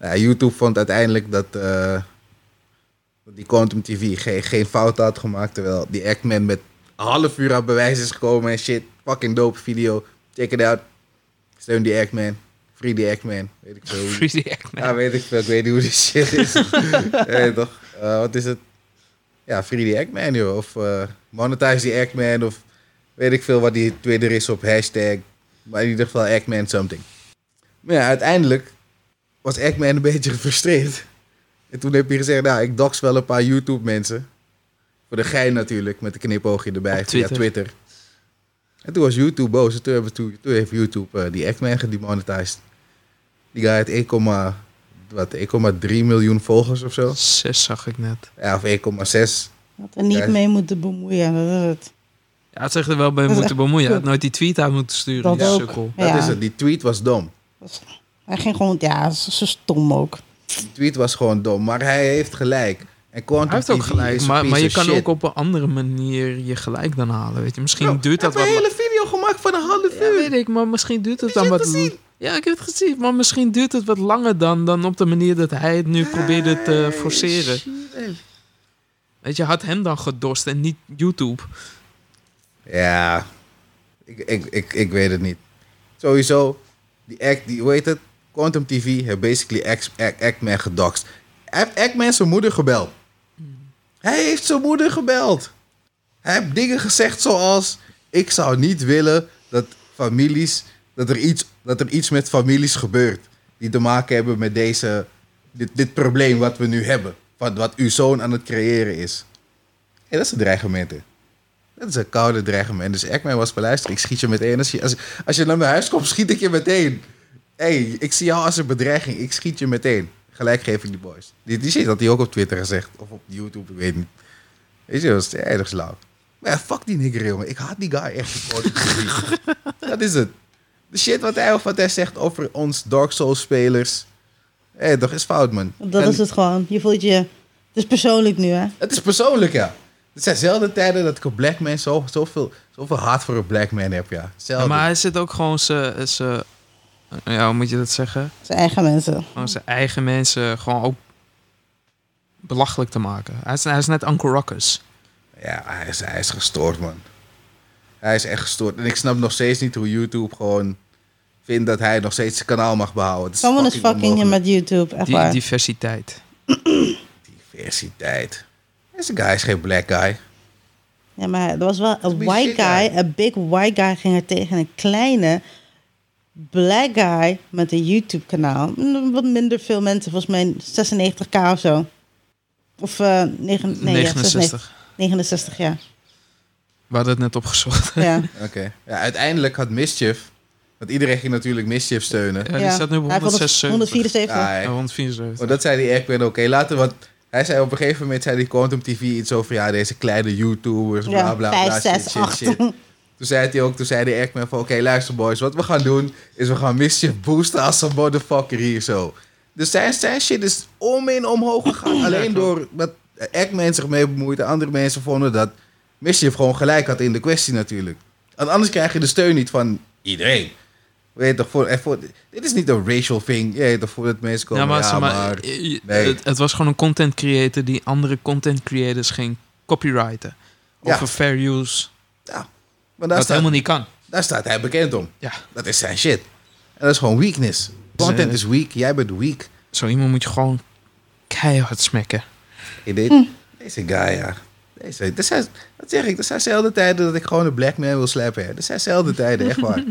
C: Ja, YouTube vond uiteindelijk dat, eh, dat die Quantum TV geen, geen fout had gemaakt. Terwijl die Eggman met een half uur aan bewijs is gekomen en shit. Fucking dope video. Check it out. Steun die Eggman. Free die Eggman. Weet ik veel. hoe-
B: Free the act, man.
C: ja, weet ik veel. Ik weet niet hoe die shit is. nee, toch? Eh, wat is het? Ja, Free the Eggman, joh. Of eh, Monetize the Eggman. Of weet ik veel wat die Twitter is op hashtag. Maar in ieder geval Eggman something. Maar ja, uiteindelijk was Eggman een beetje gefrustreerd. En toen heb je gezegd, nou, ik dox wel een paar YouTube-mensen. Voor de gein natuurlijk, met een knipoogje erbij.
B: Op
C: via
B: Twitter.
C: Twitter. En toen was YouTube boos. En toen, hebben, toen, toen heeft YouTube eh, die Eggman gedemonetized. Die guy had 1,3 wat, 1,3 miljoen volgers of zo.
B: Zes zag ik net.
C: Ja, of 1,6.
A: Had er niet
C: Ja.
A: mee moeten bemoeien, dat is het.
B: Ja, het zegt er wel bij
A: is
B: moeten
A: echt
B: bemoeien. Hij had
A: kut.
B: nooit die tweet uit moeten sturen,
A: Dat
B: die
A: ook.
B: sukkel.
C: Dat
A: Ja.
C: is het. Die tweet was dom.
A: Hij ging gewoon, ja, ze ze stom ook.
C: Die tweet was gewoon dom. Maar hij heeft gelijk. En Quantum
B: Hij heeft ook
C: TV
B: gelijk,
C: is een
B: maar, maar
C: piece
B: je
C: of
B: kan
C: shit.
B: ook op een andere manier je gelijk dan halen, weet je. Misschien
C: Bro,
B: duurt dat
C: Ik
B: wat
C: heb Nou, een
B: la-
C: hele video gemaakt van een half
B: Ja,
C: uur.
B: weet ik, maar misschien duurt het
C: Heb
B: dan
C: je
B: wat...
C: het gezien?
B: Ja, ik heb het gezien, maar misschien duurt het wat langer dan, dan op de manier dat hij het nu probeerde te
C: Hey,
B: eh, forceren.
C: shit.
B: Weet je, had hem dan gedost en niet YouTube.
C: Ja, ik, ik, ik, ik weet het niet. Sowieso, die act, die, hoe heet het? Quantum TV heeft basically Act- Act- Actman gedoxt. Hij heeft Actman zijn moeder gebeld. Hij heeft zijn moeder gebeld. Hij heeft dingen gezegd zoals... Ik zou niet willen dat families... Dat er iets, dat er iets met families gebeurt. Die te maken hebben met deze... Dit, dit probleem wat we nu hebben. Wat, wat uw zoon aan het creëren is. En dat is een dreigement, hè. Dat is een koude dreigement. Dus Ekman was beluisterd. Ik schiet je meteen. Als je, als, als je naar mijn huis komt, schiet ik je meteen. Hé, hey, ik zie jou als een bedreiging. Ik schiet je meteen. Gelijk geef ik die boys. Die, die shit had hij ook op Twitter gezegd. Of op YouTube, ik weet niet. Weet je, dat was erg slauw. Maar ja, fuck die nigger, jongen. Ik haat die guy echt. dat is het. De shit wat hij, of wat hij zegt over ons Dark Souls spelers. Hé, hey, dat is fout, man.
A: Dat
C: En-
A: is het gewoon. Je voelt je... Het is persoonlijk nu, hè?
C: het is persoonlijk, ja. Het zijn zelden tijden dat ik een black man zo, zoveel, zoveel haat voor een black man heb, ja. Zelden.
B: maar hij zit ook gewoon zijn... zijn- Ja, hoe moet je dat zeggen?
A: Zijn eigen mensen.
B: Gewoon zijn eigen mensen gewoon ook belachelijk te maken. Hij is, hij is net Uncle Ruckus.
C: Ja, hij is, hij is gestoord, man. Hij is echt gestoord. En ik snap nog steeds niet hoe YouTube gewoon vindt dat hij nog steeds zijn kanaal mag behouden. Het is
A: Someone is fucking je
C: onmogelijk.
A: met YouTube, echt
B: Die
A: waar.
B: diversiteit.
C: Diversiteit. Deze guy is geen black guy.
A: Ja, maar er was wel een
C: be
A: white
C: shit, ja.
A: guy, een big white guy ging er tegen een kleine black guy met een YouTube kanaal. Mm, Wat minder veel mensen, volgens mij 96k of zo. Of eh negen, nee, 69.
B: 69.
A: 69, ja.
B: We hadden het net opgezocht.
A: ja.
C: Oké. Ja, uiteindelijk had Mischief... Want iedereen ging natuurlijk Mischief steunen.
B: Ja, die
A: Ja.
B: staat nu op
A: Hij vond het
B: 176.
A: 174.
C: Ja, hij-
B: Ja, 174.
C: Maar Oh, dat zei die Eggman ook. Hé, later, want hij zei op een gegeven moment, zei die Quantum TV iets over, ja, deze kleine YouTubers, bla
A: ja,
C: bla bla,
A: 5,
C: shit,
A: 6,
C: shit,
A: 8.
C: shit. Toen zei hij ook, toen zei die Eggman van, oké, luister boys, wat we gaan doen, is we gaan Mischief boosten als een motherfucker hier zo. Dus zijn, zijn shit is om en omhoog gegaan, alleen door dat Eggman zich mee bemoeide. Andere mensen vonden dat Mischief gewoon gelijk had in de kwestie natuurlijk. Want anders krijg je de steun niet van iedereen. Weet je toch, voor, en voor, dit is niet een racial thing. Je weet toch, voordat mensen komen,
B: ja, maar, zeg maar,
C: maar
B: eh, je-
C: nee.
B: het, het was gewoon een content creator die andere content creators ging copyrighten.
C: Ja.
B: Over fair use. Dat
C: Maar daar
B: wat
C: staat,
B: helemaal niet kan.
C: daar staat hij bekend om.
B: Ja.
C: Dat is zijn shit. En dat is gewoon weakness. Content is weak. Jij bent weak.
B: Zo iemand moet je gewoon keihard smekken.
C: Ik deed- Deze guy, ja. Deze, dat, zijn, dat zeg ik. Dat zijn zelden tijden dat ik gewoon een black man wil slappen. Hè. Dat zijn zelden tijden, echt waar.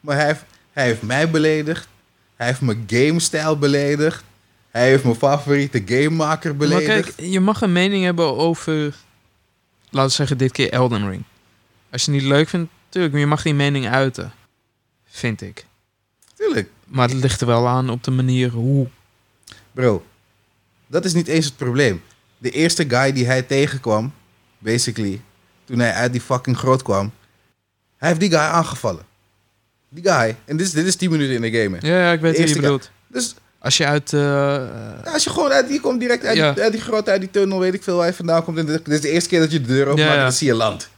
C: maar hij heeft, hij heeft mij beledigd. Hij heeft mijn game-stijl beledigd. Hij heeft mijn favoriete gamemaker
B: Maar
C: beledigd.
B: kijk, je mag een mening hebben over, laten we zeggen, dit keer Elden Ring. Als je het niet leuk vindt, natuurlijk, maar je mag die mening uiten. Vind ik.
C: Tuurlijk.
B: Maar het ligt er wel aan op de manier hoe.
C: Bro, dat is niet eens het probleem. De eerste guy die hij tegenkwam, basically, toen hij uit die fucking grot kwam, hij heeft die guy aangevallen. Die guy. En dit is, dit is 10 minuten in de game. hè.
B: Ja, ja, ik weet wat je
C: Eerste
B: bedoelt.
C: Dus
B: Als je uit. eh, eh,
C: ja, als je gewoon uit, je komt direct uit,
B: Ja.
C: die, uit die grot, uit die tunnel, weet ik veel waar je vandaan komt. En dit dit is de eerste keer dat je de deur opent,
B: ja.
C: dan zie je land. Hij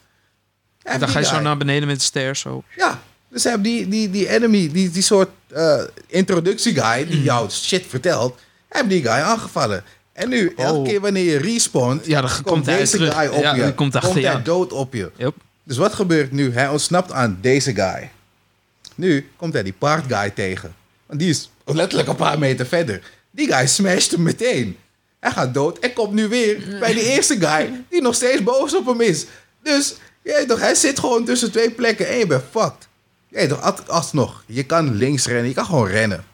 B: dan
C: heeft die
B: ga je zo
C: guy.
B: naar beneden met de ster zo.
C: Ja, dus hij heeft die, die, die enemy, die, die soort eh introductieguy
B: Mm.
C: die jou shit vertelt, hij heeft die guy aangevallen. En nu, elke
B: Oh.
C: keer wanneer je respawnt,
B: Ja, dan komt hij
C: deze
B: terug.
C: guy op
B: Ja,
C: je.
B: dan komt hij achter je
C: hij
B: aan.
C: dood op je.
B: Yep.
C: Dus wat gebeurt nu? Hij ontsnapt aan deze guy. Nu komt hij die paard guy tegen. Want die is letterlijk een paar meter verder. Die guy smasht hem meteen. Hij gaat dood en komt nu weer bij die eerste guy die nog steeds boos op hem is. Dus je weet toch, hij zit gewoon tussen twee plekken en je bent fucked. Je weet toch, als- alsnog, je kan links rennen, je kan gewoon rennen.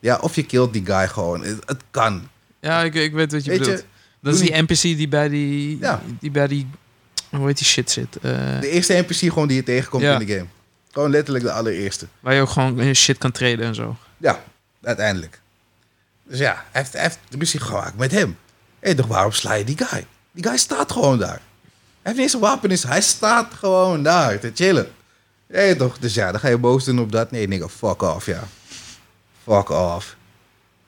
C: Ja, of je killt die guy gewoon. Het, het kan.
B: Ja, ik, ik weet wat je
C: Weet je,
B: bedoelt. dat is
C: doe
B: die NPC die bij die.
C: Ja.
B: Die bij die. Hoe heet die shit zit? Eh,
C: De eerste NPC gewoon die je tegenkomt
B: Ja.
C: in de game. Gewoon letterlijk de allereerste.
B: waar je ook gewoon eh, shit kan treden en zo.
C: Ja. Uiteindelijk. Dus ja, hij heeft, hij heeft ruzie gemaakt met hem. Hé, toch waarom sla je die guy? Die guy staat gewoon daar. Hij heeft niet eens een wapen in zijn- Hij staat gewoon daar te chillen. Hé, toch? Dus ja, dan ga je boos doen op dat. Nee, nigga, fuck off, ja. Fuck off.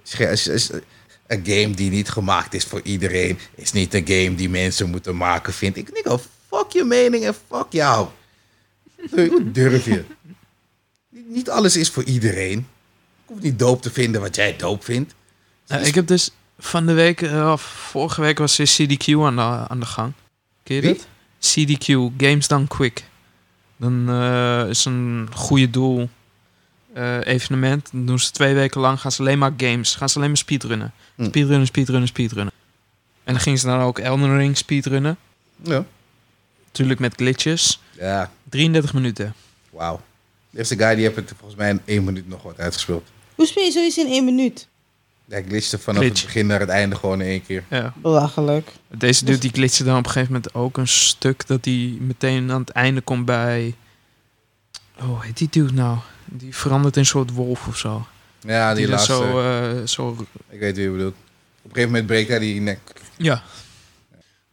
C: Is ge- is- is- Een game die niet gemaakt is voor iedereen... is niet een game die mensen moeten maken, vind ik. Nigga, fuck je mening en fuck jou. Hoe durf je? Niet alles is voor iedereen. Ik hoef niet doop te vinden wat jij doop vindt.
B: Nou, ik heb dus van de week, eh, of vorige week was er CDQ aan de, aan de gang. Ken je
C: Wie?
B: dat? CDQ, Games Done Quick. Dan eh, is een goede doel eh, evenement. Dan doen ze twee weken lang, gaan ze alleen maar games. Gaan ze alleen maar speedrunnen.
C: Hm.
B: Speedrunnen, speedrunnen, speedrunnen. En dan gingen ze dan ook Elden Ring speedrunnen.
C: Ja.
B: Natuurlijk met glitches.
C: Ja,
B: 33 minuten.
C: wauw. De eerste guy die heeft het volgens mij in één minuut nog wat uitgespeeld.
A: Hoe speel je zoiets in één minuut?
C: Hij glitchte vanaf
B: Glitch.
C: het begin naar het einde gewoon in één keer.
B: Ja.
A: Belachelijk.
B: Deze
C: Dus-
B: dude die glitste dan op een gegeven moment ook een stuk dat hij meteen aan het einde komt bij. Oh, hoe heet die dude nou? Die verandert in een soort wolf of zo.
C: Ja, die,
B: die dan
C: laatste.
B: zo, eh, zo.
C: Ik weet wie je bedoelt. Op een gegeven moment breekt hij die nek.
B: Ja.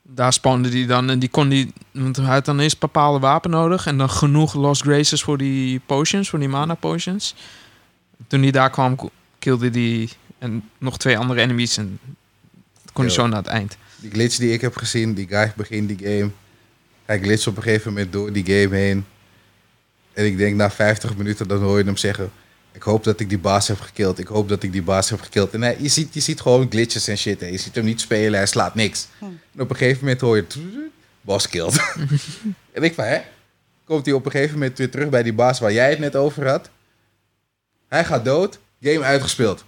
B: Daar spawnde die dan en die kon die. Want hij had dan eerst een bepaalde wapen nodig en dan genoeg Lost Graces voor die potions, voor die mana potions. Toen hij daar kwam, ko- killde die en nog twee andere enemies en kon hij
C: Yo.
B: zo naar het eind.
C: Die glitch die ik heb gezien, die guy begint die game. Hij glitst op een gegeven moment door die game heen. En ik denk na 50 minuten, dan hoor je hem zeggen... Ik hoop dat ik die baas heb gekild. Ik hoop dat ik die baas heb gekild. En hij, je, ziet, je ziet gewoon glitches en shit. Hè. Je ziet hem niet spelen, hij slaat niks.
A: Hm.
C: En op een gegeven moment hoor je... Boss killed. en ik van, hè? Komt hij op een gegeven moment weer terug bij die baas waar jij het net over had. Hij gaat dood. Game uitgespeeld.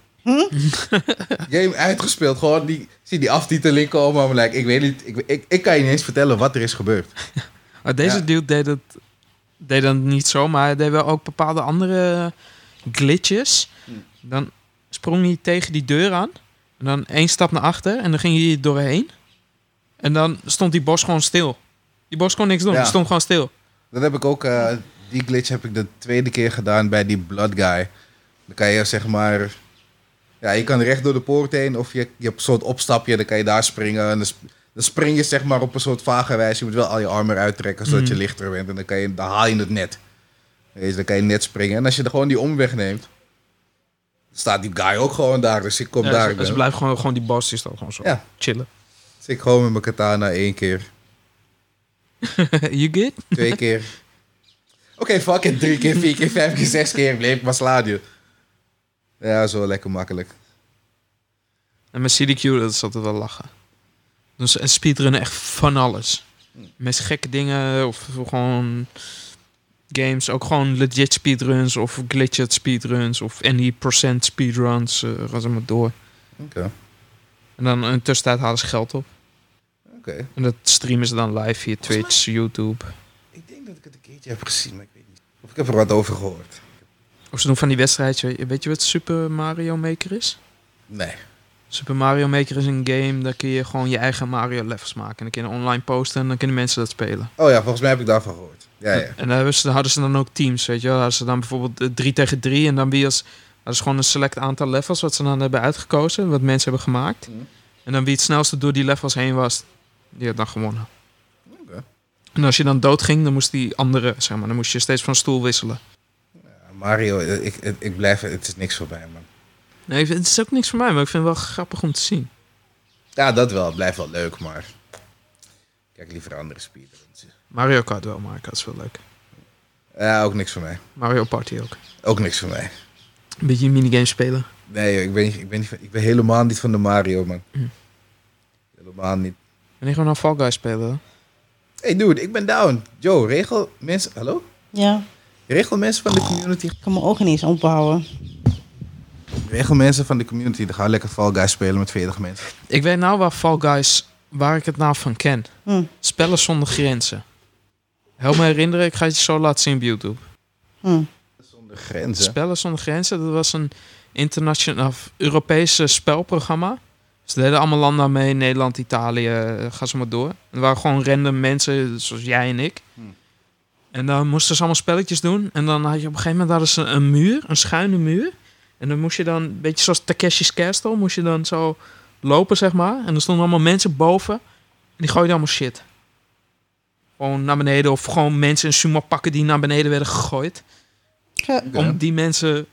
C: Game uitgespeeld. Gewoon die, ik zie die aftiteling komen. Maar like, ik weet niet. Ik, ik, ik kan je niet eens vertellen wat er is gebeurd.
B: Maar Ah, deze
C: Ja.
B: dude deed het deed dan niet zo, maar hij deed wel ook bepaalde andere glitches.
C: Hm.
B: Dan sprong hij tegen die deur aan. En dan één stap naar achter en dan ging hij er doorheen. En dan stond die bos gewoon stil. Die bos kon niks doen,
C: Ja.
B: die stond gewoon stil.
C: Dat heb ik ook. eh, die glitch heb ik de tweede keer gedaan bij die Blood Guy. Dan kan je zeg maar. Ja, je kan recht door de poort heen. Of je, je hebt een soort opstapje. Dan kan je daar springen. En dan, sp- dan spring je zeg maar op een soort vage wijze. Je moet wel al je armor uittrekken zodat
B: Mm.
C: je lichter bent. En dan, kan je, dan haal je het net. Weet je, dan kan je net springen. En als je er gewoon die omweg neemt. Staat die guy ook gewoon daar. Dus ik kom
B: Ja,
C: daar.
B: ze,
C: ik ben-
B: ze blijft gewoon, gewoon die bos is dan gewoon zo
C: Ja.
B: chillen.
C: Dus ik gewoon met mijn katana één keer,
B: you good?
C: twee keer. Oké, fuck it. Drie keer, vier keer, vijf keer, zes keer. Bleef maar slaan, joh. Ja, zo lekker makkelijk.
B: En met CDQ, dat is altijd wel lachen. Dus en speedrunnen echt van alles. Met gekke dingen of gewoon games. Ook gewoon legit speedruns of glitched speedruns of any percent speedruns. eh gaan ze maar door.
C: Oké,
B: En dan in de tussentijd halen ze geld op.
C: oké.
B: En dat streamen ze dan live via
C: Volgens mij-
B: Twitch, YouTube.
C: Ik denk dat ik het een keertje heb gezien, maar ik weet niet. Of ik heb er wat over gehoord.
B: Of ze doen van die wedstrijdje. Weet je wat Super Mario Maker is?
C: Nee.
B: Super Mario Maker is een game, daar kun je gewoon je eigen Mario levels maken. En dan kun je online posten en dan kunnen mensen dat spelen.
C: Oh ja, volgens mij heb ik daarvan gehoord. Ja, ja.
B: En daar hebben ze- hadden ze dan ook teams, weet je wel. Hadden ze dan bijvoorbeeld eh, drie tegen drie en dan wie als... Dat is gewoon een select aantal levels wat ze dan hebben uitgekozen, wat mensen hebben gemaakt.
C: Mm.
B: En dan wie het snelste door die levels heen was, die had dan gewonnen.
C: Oké.
B: En als je dan doodging, dan moest die andere, zeg maar, dan moest je steeds van stoel wisselen.
C: Ja, Mario, eh, ik, ik, ik blijf... Het is niks voor mij, man.
B: Nee, ik vind- het is ook niks voor mij, maar ik vind het wel grappig om te zien.
C: Ja, dat wel. Het blijft wel leuk, maar... Kijk liever andere speedruns.
B: Mario Kart wel, maar dat is wel leuk.
C: Ja, ook niks voor mij.
B: Mario Party ook.
C: Ook niks voor mij.
B: Een beetje minigames spelen.
C: Nee, joh, ik ben, niet- ik, ben niet, van- ik ben helemaal niet van de Mario, man.
B: Mm.
C: Helemaal niet.
B: En ik gewoon naar nou Fall Guys spelen. hè?
C: Hey dude, ik ben down. Joe, regel mensen... Hallo?
A: Ja,
C: Regel mensen van de community.
A: ik kan mijn ogen niet eens ophouden.
C: Regel mensen van de community. Dan gaan we lekker Fall Guys spelen met 40 mensen.
B: Ik weet nou waar Fall Guys, waar ik het nou van ken.
A: Hm.
B: Spellen zonder grenzen. Help me herinneren, ik ga het je zo laten zien op YouTube.
A: Hm.
C: Zonder grenzen.
B: Spellen zonder grenzen, dat was een internationaal of Europese spelprogramma. Ze deden allemaal landen aan mee, Nederland, Italië, eh, ga zo maar door. Er waren gewoon random mensen, zoals jij en ik.
C: Hm.
B: En dan moesten ze allemaal spelletjes doen. En dan had je op een gegeven moment hadden ze een muur, een schuine muur. En dan moest je dan, een beetje zoals Takeshi's Castle, moest je dan zo lopen, zeg maar. En er stonden allemaal mensen boven. En die gooiden allemaal shit. Gewoon naar beneden. Of gewoon mensen in sumo pakken die naar beneden werden gegooid. Om die mensen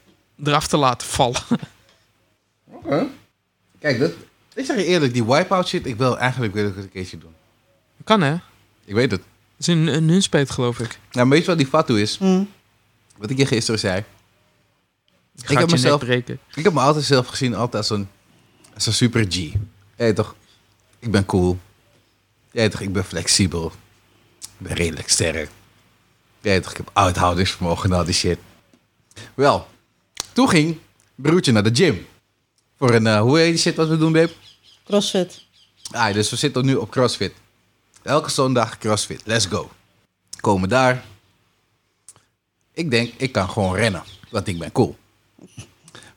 B: eraf te laten vallen.
D: Oké.
C: Kijk, dat, ik zeg je eerlijk, die wipeout shit, ik wil eigenlijk wil ik het een keertje doen.
B: kan hè? Dat
C: Ik weet het.
B: is in een Nunspeet, geloof ik.
C: Nou, weet je wat die fatu is?
A: Mm.
C: Wat ik je gisteren zei.
B: Gaat
C: heb
B: je nek
C: mezelf-
B: breken.
C: Ik heb me altijd zelf gezien altijd als een, als een super G. Jij toch, ik ben cool. Jij toch, ik ben flexibel. Ik ben redelijk sterk. Jij toch, ik heb uithoudingsvermogen en al die shit. Wel, toen ging broertje naar de gym. Voor een, eh, hoe heet die shit wat we doen, babe?
A: CrossFit.
C: Ah, dus we zitten nu op CrossFit. Elke zondag CrossFit. Let's go. Komen daar. Ik denk, ik kan gewoon rennen. Want ik ben cool.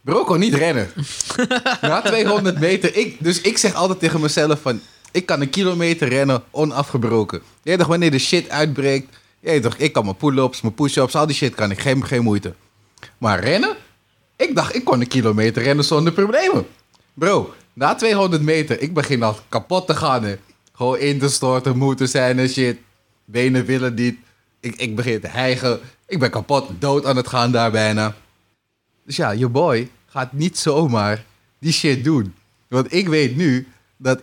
C: Bro kon niet rennen. Na 200 meter. Ik, dus ik zeg altijd tegen mezelf van... Ik kan een kilometer rennen onafgebroken. Je weet toch, wanneer de shit uitbreekt. Je weet toch, ik kan mijn pull-ups, mijn push-ups. Al die shit kan ik. Geen, geen moeite. Maar rennen? Ik dacht, ik kon een kilometer rennen zonder problemen. Bro, na 200 meter, ik begin al kapot te gaan. Hè. Gewoon in te storten, moe te zijn en shit. Benen willen niet. Ik, ik begin te hijgen. Ik ben kapot, dood aan het gaan daar bijna. Dus ja, je boy gaat niet zomaar die shit doen. Want ik weet nu dat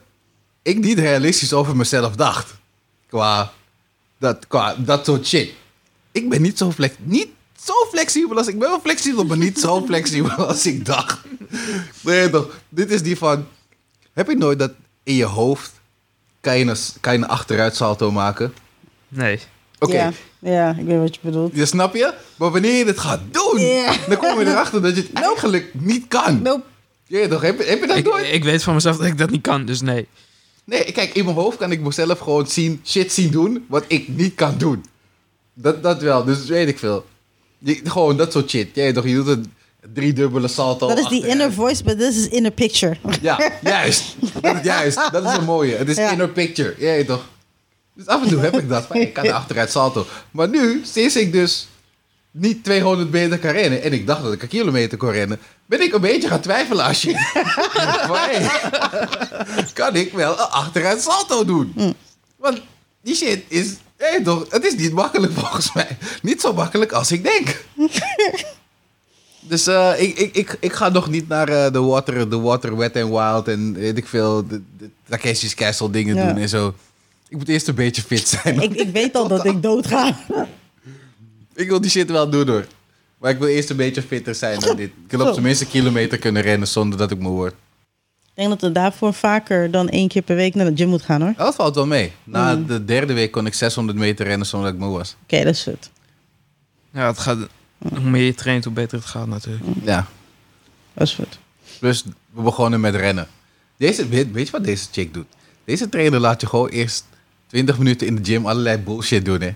C: ik niet realistisch over mezelf dacht. Qua dat, qua dat soort shit. Ik ben niet zo, flex, niet zo flexibel als ik ben wel flexibel, maar niet zo flexibel als ik dacht. Nee, toch? Dit is die van. Heb je nooit dat in je hoofd kan je een, kan je een achteruitsalto maken?
B: Nee.
C: Oké,
A: Ja. ja, ik weet wat je bedoelt.
C: je snap je? Maar wanneer je dit gaat doen,
A: Ja.
C: dan kom je erachter dat je het eigenlijk niet kan.
A: Nope.
C: Ja, toch? Heb, je- heb je dat
B: Ik,
C: nooit?
B: ik weet van mezelf dat ik dat niet kan, dus nee.
C: Nee, kijk, in mijn hoofd kan ik mezelf gewoon zien, shit zien doen wat ik niet kan doen. Dat, dat wel, dus weet ik veel. Je- gewoon dat soort shit. Ja, toch? Je doet een driedubbele salto.
A: Dat is die
C: achteruit.
A: inner voice, but this is inner picture.
C: Ja, juist. Dat is juist. Dat is een mooie. Het is
A: Ja.
C: inner picture. Ja, je toch? Dus af en toe heb ik dat. Van, ik kan achteruit salto. Maar nu, sinds ik dus niet 200 meter kan rennen... en ik dacht dat ik een kilometer kon rennen... ben ik een beetje gaan twijfelen als je... Maar hey, kan ik wel een achteruit salto doen?
A: Hm.
C: Want die shit is... Ja, je toch? Het is niet makkelijk volgens mij. Niet zo makkelijk als ik denk. Dus eh, ik, ik, ik, ik ga nog niet naar eh, de water, de water Wet and Wild en weet ik veel, de, de Takeshi's Castle dingen
A: Ja.
C: doen en zo. Ik moet eerst een beetje fit zijn.
A: ik, ik weet al dat ik dood ga.
C: Ik wil die shit wel doen hoor. Maar ik wil eerst een beetje fitter zijn dan dit. Ik wil op
A: Zo.
C: zijn minst een kilometer kunnen rennen zonder dat ik moe word.
A: Ik denk dat we daarvoor vaker dan één keer per week naar de gym moet gaan hoor. Oké,
C: Dat valt wel mee. Na
A: Mm.
C: de derde week kon ik 600 meter rennen zonder dat ik moe was.
A: dat is goed.
B: Ja, het gaat, hoe meer je traint, hoe beter het gaat natuurlijk.
C: Ja.
A: Dat is goed.
C: Plus, we begonnen met rennen. Deze, weet, weet je wat deze chick doet? Deze trainer laat je gewoon eerst 20 minuten in de gym allerlei bullshit doen, hè.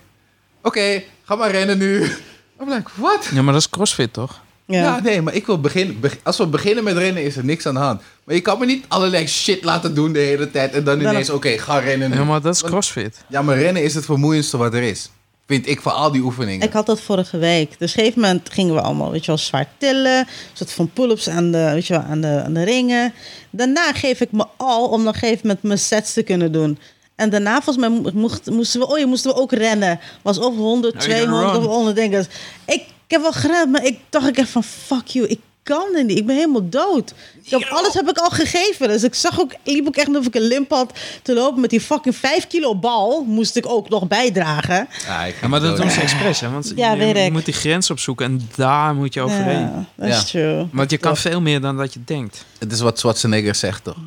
C: Oké, ga maar rennen nu. I'm like, wat?
B: Ja, maar dat is crossfit, toch?
A: Ja.
C: Ja, nee, maar ik wil beginnen. beg- als we beginnen met rennen, is er niks aan de hand. Maar je kan me niet allerlei shit laten doen de hele tijd. En dan
A: Dan-
C: ineens, oké, ga rennen. nu.
B: Ja, maar dat is
C: Want-
B: crossfit.
C: ja, maar rennen is het vermoeiendste wat er is. Vind ik voor al die oefeningen.
A: Ik had dat vorige week. Dus op een gegeven moment gingen we allemaal, weet je wel, zwaar tillen. Een soort van pull-ups aan de, weet je wel, aan de, aan de ringen. Daarna geef ik me al om op een gegeven moment mijn sets te kunnen doen. En daarna volgens mij mo- mocht- moesten we, oh, je moesten we ook rennen. Was of 100,
B: Ja, je kan
A: 200 of
B: run.
A: 100 dingen. Dus Ik, ik heb wel gerend, maar ik dacht ik echt van, fuck you, ik kan dit niet. Ik ben helemaal dood. Ik heb, alles heb ik al gegeven. Dus ik zag ook, liep ook echt of ik een limp had te lopen met die fucking 5 kilo bal. Moest ik ook nog bijdragen.
C: Ah, ik
B: Ja, maar dat
C: dood.
B: doen ze expres, hè? Want
A: Ja,
B: je,
A: weet
B: je
A: ik.
B: moet die grens opzoeken en daar moet je overheen.
A: Ja, dat
C: Ja.
A: is true.
B: Want je kan veel meer dan dat je denkt.
C: Het is wat Schwarzenegger zegt, toch?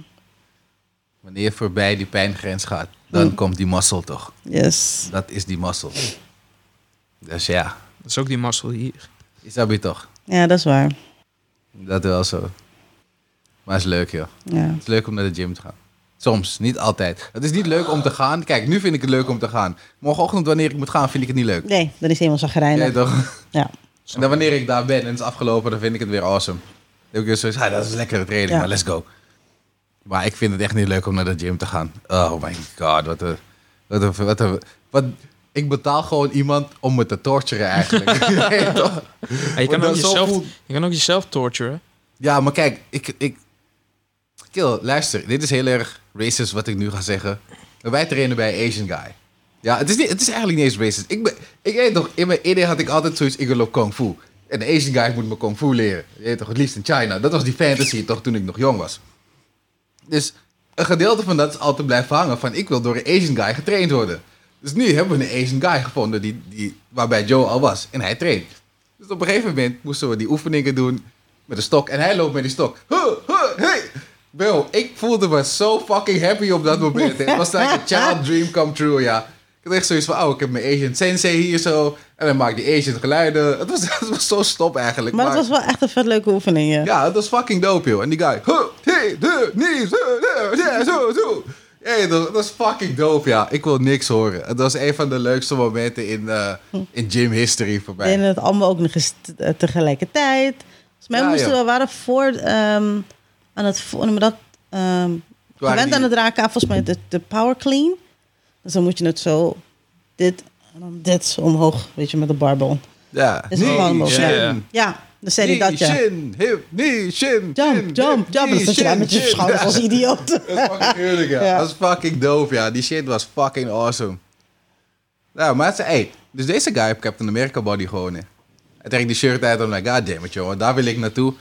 C: Wanneer je voorbij die pijngrens gaat, dan
A: Mm.
C: komt die muscle, toch?
A: Yes.
C: Dat is die muscle. Dus ja,
B: Dat is ook die mazzel hier.
C: is dat weer toch?
A: Ja, dat is waar.
C: Dat wel zo. Maar het is leuk, joh.
A: Ja.
C: Het is leuk om naar de gym te gaan. Soms, niet altijd. Het is niet leuk om te gaan. Kijk, nu vind ik het leuk om te gaan. Morgenochtend, wanneer ik moet gaan, vind ik het niet leuk.
A: Nee, dan is hij helemaal
C: Ja,
A: zagrijnig.
C: toch?
A: Ja.
C: En dan wanneer ik daar ben en het is afgelopen, dan vind ik het weer awesome. Dan heb ik weer zoiets, ah, dat is een lekkere training,
A: Ja.
C: maar let's go. Maar ik vind het echt niet leuk om naar de gym te gaan. Oh my god, wat een... Wat een, wat een- wat- ik betaal gewoon iemand om me te torturen eigenlijk. Ja, toch?
B: Ja, je, kan
C: dat
B: ook
C: zo
B: jezelf,
C: voelt-
B: je kan ook jezelf torturen.
C: Ja, maar kijk, ik... ik Kill, luister, dit is heel erg racist wat ik nu ga zeggen. Maar Wij trainen bij Asian guy. Ja, het is, niet, het is eigenlijk niet eens racist. Ik, ben, ik weet toch, in mijn idee had ik altijd zoiets, ik wil op kung fu. En de Asian guy moet me kung fu leren. Je weet toch, het liefst in China. Dat was die fantasy toch, toen ik nog jong was. Dus een gedeelte van dat is altijd blijven hangen van ik wil door een Asian guy getraind worden. Dus nu hebben we een Asian guy gevonden die, die, waarbij Joe al was en hij traint. Dus op een gegeven moment moesten we die oefeningen doen met een stok en hij loopt met die stok. Huh, huh, hey. Bro, ik voelde me zo fucking happy op dat moment. Het was like a child dream come true, ja. Ik had echt zoiets van, oh, ik heb mijn Asian sensei hier zo. En dan maakt die Asian geluiden. Het was, het was zo stop eigenlijk.
A: Maar het was wel echt een vet leuke oefening, ja.
C: Ja, dat was fucking dope, joh. En die guy. Huh, hey, de, nee, zo, de, ja, zo, zo. Hey, dat, dat was fucking dope, ja. Ik wil niks horen. Het was een van de leukste momenten in, eh, in gym history voor mij.
A: En het allemaal ook nog eens t- eh, tegelijkertijd. Volgens mij
C: Ja,
A: moesten
C: ja.
A: we waren voor ehm, aan het vo- hoe noem je dat ehm gewend
C: die-
A: aan het raken aan volgens mij de, de power clean. Dus dan moet je het zo dit en dan dit zo omhoog, weet je, met de barbel.
C: Ja.
A: Is het
C: Nee,
A: gewoon mogelijk.
B: ja,
A: Ja.
B: ja.
A: dan zei hij
C: nee,
A: dat ja.
C: Shin, hip, nee, shin. shin,
A: Jump, jump, jump.
C: hip,
A: En
C: nee,
A: dan zat je daar
C: shin,
A: met je
C: shin.
A: schouders als idioot.
C: Dat is fucking heerlijk, ja.
A: Ja.
C: Dat is fucking dope, ja. Die shit was fucking awesome. Nou, maar het is- hey, dus deze guy heeft Captain America body gewoon, hè. Hij trekt die shirt uit en I'm like, god damn it, jongen. Daar wil ik naartoe.